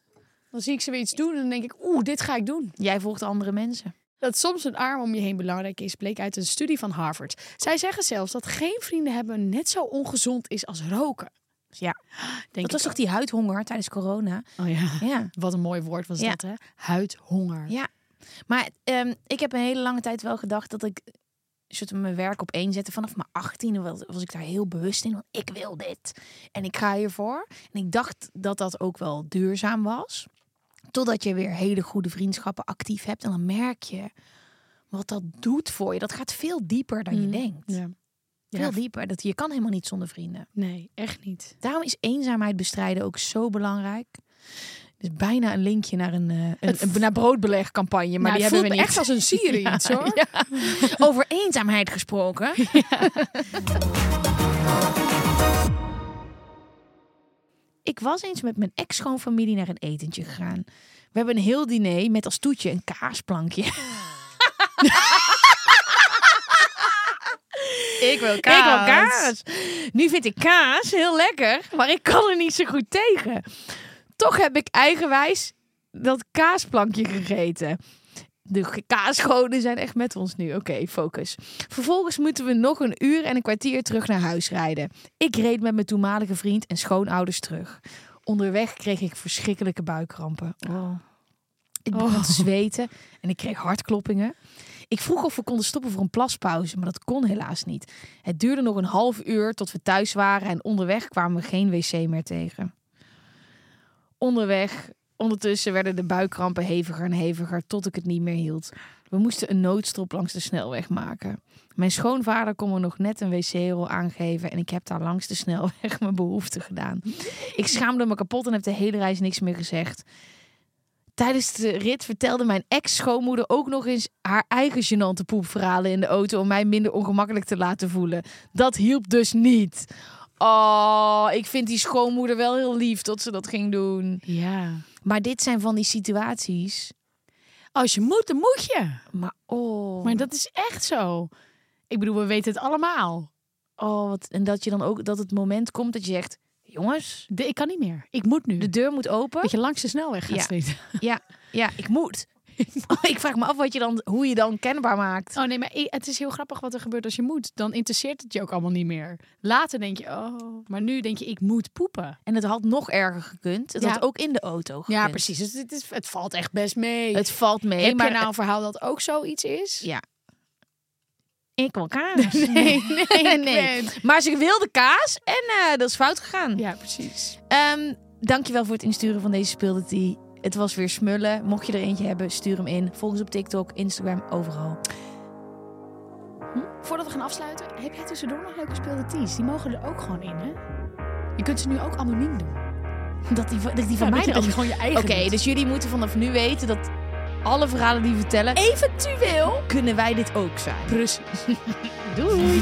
Speaker 1: Dan zie ik ze weer iets doen en dan denk ik, oeh, dit ga ik doen.
Speaker 2: Jij volgt andere mensen.
Speaker 1: Dat soms een arm om je heen belangrijk is, bleek uit een studie van Harvard. Zij zeggen zelfs dat geen vrienden hebben net zo ongezond is als roken.
Speaker 2: Ja.
Speaker 1: Denk
Speaker 2: dat was
Speaker 1: ik
Speaker 2: toch die huidhonger tijdens corona?
Speaker 1: ook. Oh ja.
Speaker 2: Ja.
Speaker 1: Wat een mooi woord was
Speaker 2: Ja.
Speaker 1: dat, hè? Huidhonger.
Speaker 2: Ja. Maar ehm, ik heb een hele lange tijd wel gedacht dat ik soort van mijn werk op één zette. Vanaf mijn 18 was, was ik daar heel bewust in. Want ik wil dit. En ik ga hiervoor. En ik dacht dat dat ook wel duurzaam was. Totdat je weer hele goede vriendschappen actief hebt. En dan merk je wat dat doet voor je. Dat gaat veel dieper dan je denkt.
Speaker 1: Mm. Ja.
Speaker 2: Veel dieper. Dat, je kan helemaal niet zonder vrienden.
Speaker 1: Nee, echt niet.
Speaker 2: Daarom is eenzaamheid bestrijden ook zo belangrijk. Dus bijna een linkje naar een, eh, een,
Speaker 1: Het-
Speaker 2: een- naar broodbelegcampagne. Maar
Speaker 1: Nou,
Speaker 2: die
Speaker 1: het
Speaker 2: hebben we
Speaker 1: voelt echt
Speaker 2: niet.
Speaker 1: als een serie iets, hoor.
Speaker 2: Over eenzaamheid gesproken. Ik was eens met mijn ex-schoonfamilie naar een etentje gegaan. We hebben een heel diner met als toetje een kaasplankje. ik wil kaas. Ik wil kaas. Nu vind ik kaas heel lekker, maar ik kan er niet zo goed tegen. Toch heb ik eigenwijs dat kaasplankje gegeten. De ge- kaasgoden zijn echt met ons nu. Oké, focus. Vervolgens moeten we nog een uur en een kwartier terug naar huis rijden. Ik reed met mijn toenmalige vriend en schoonouders terug. Onderweg kreeg ik Oh. verschrikkelijke buikkrampen. Ik begon te zweten en ik kreeg hartkloppingen. Ik vroeg of we konden stoppen voor een plaspauze, maar dat kon helaas niet. Het duurde nog een half uur tot we thuis waren en onderweg kwamen we geen wc meer tegen. Onderweg, ondertussen werden de buikkrampen heviger en heviger tot ik het niet meer hield. We moesten een noodstop langs de snelweg maken. Mijn schoonvader kon me nog net een wc-rol aangeven en ik heb daar langs de snelweg mijn behoefte gedaan. Ik schaamde me kapot en heb de hele reis niks meer gezegd. Tijdens de rit vertelde mijn ex-schoonmoeder ook nog eens haar eigen gênante poepverhalen in de auto om mij minder ongemakkelijk te laten voelen. Dat hielp dus niet. Oh, ik vind die schoonmoeder wel heel lief dat ze dat ging doen.
Speaker 1: Ja.
Speaker 2: Maar dit zijn van die situaties.
Speaker 1: Als je moet, dan moet je.
Speaker 2: Maar oh,
Speaker 1: Maar dat is echt zo. Ik bedoel, we weten het allemaal.
Speaker 2: oh wat, en dat je dan ook dat het moment komt dat je zegt: jongens,
Speaker 1: De- ik kan niet meer. Ik moet nu.
Speaker 2: de deur moet open.
Speaker 1: dat je langs de snelweg gaat
Speaker 2: Ja.
Speaker 1: schieten.
Speaker 2: Ja, ja, ik moet. ik vraag me af wat je dan, hoe je dan kenbaar maakt.
Speaker 1: Oh nee, maar i- het is heel grappig wat er gebeurt als je moet. Dan interesseert het je ook allemaal niet meer. Later denk je, oh. Maar nu denk je, ik moet poepen.
Speaker 2: En het had nog erger gekund. Het
Speaker 1: Ja.
Speaker 2: had ook in de auto gekund.
Speaker 1: Ja, precies. Dus het, is, het valt echt best mee.
Speaker 2: Het valt mee.
Speaker 1: Heb
Speaker 2: maar
Speaker 1: je nou een verhaal dat ook zoiets is?
Speaker 2: Ja. Ik wil kaas.
Speaker 1: Nee, nee, ik weet.
Speaker 2: Maar ze wilde kaas en eh, dat is fout gegaan.
Speaker 1: Ja, precies.
Speaker 2: Ehm, dankjewel voor het insturen van deze speeldity. Het was weer smullen. Mocht je er eentje hebben, stuur hem in. Volg ons op TikTok, Instagram, overal.
Speaker 1: Voordat we gaan afsluiten, heb jij tussendoor nog leuke speeldeties? Die mogen er ook gewoon in, hè? Je kunt ze nu ook anoniem doen.
Speaker 2: Dat die, van- dat die van
Speaker 1: Ja, dat
Speaker 2: mij
Speaker 1: je- dat
Speaker 2: dan-
Speaker 1: je gewoon je eigen
Speaker 2: Oké,
Speaker 1: doet.
Speaker 2: dus jullie moeten vanaf nu weten dat alle verhalen die we vertellen... Eventueel kunnen wij dit ook zijn.
Speaker 1: Precies.
Speaker 2: Doei!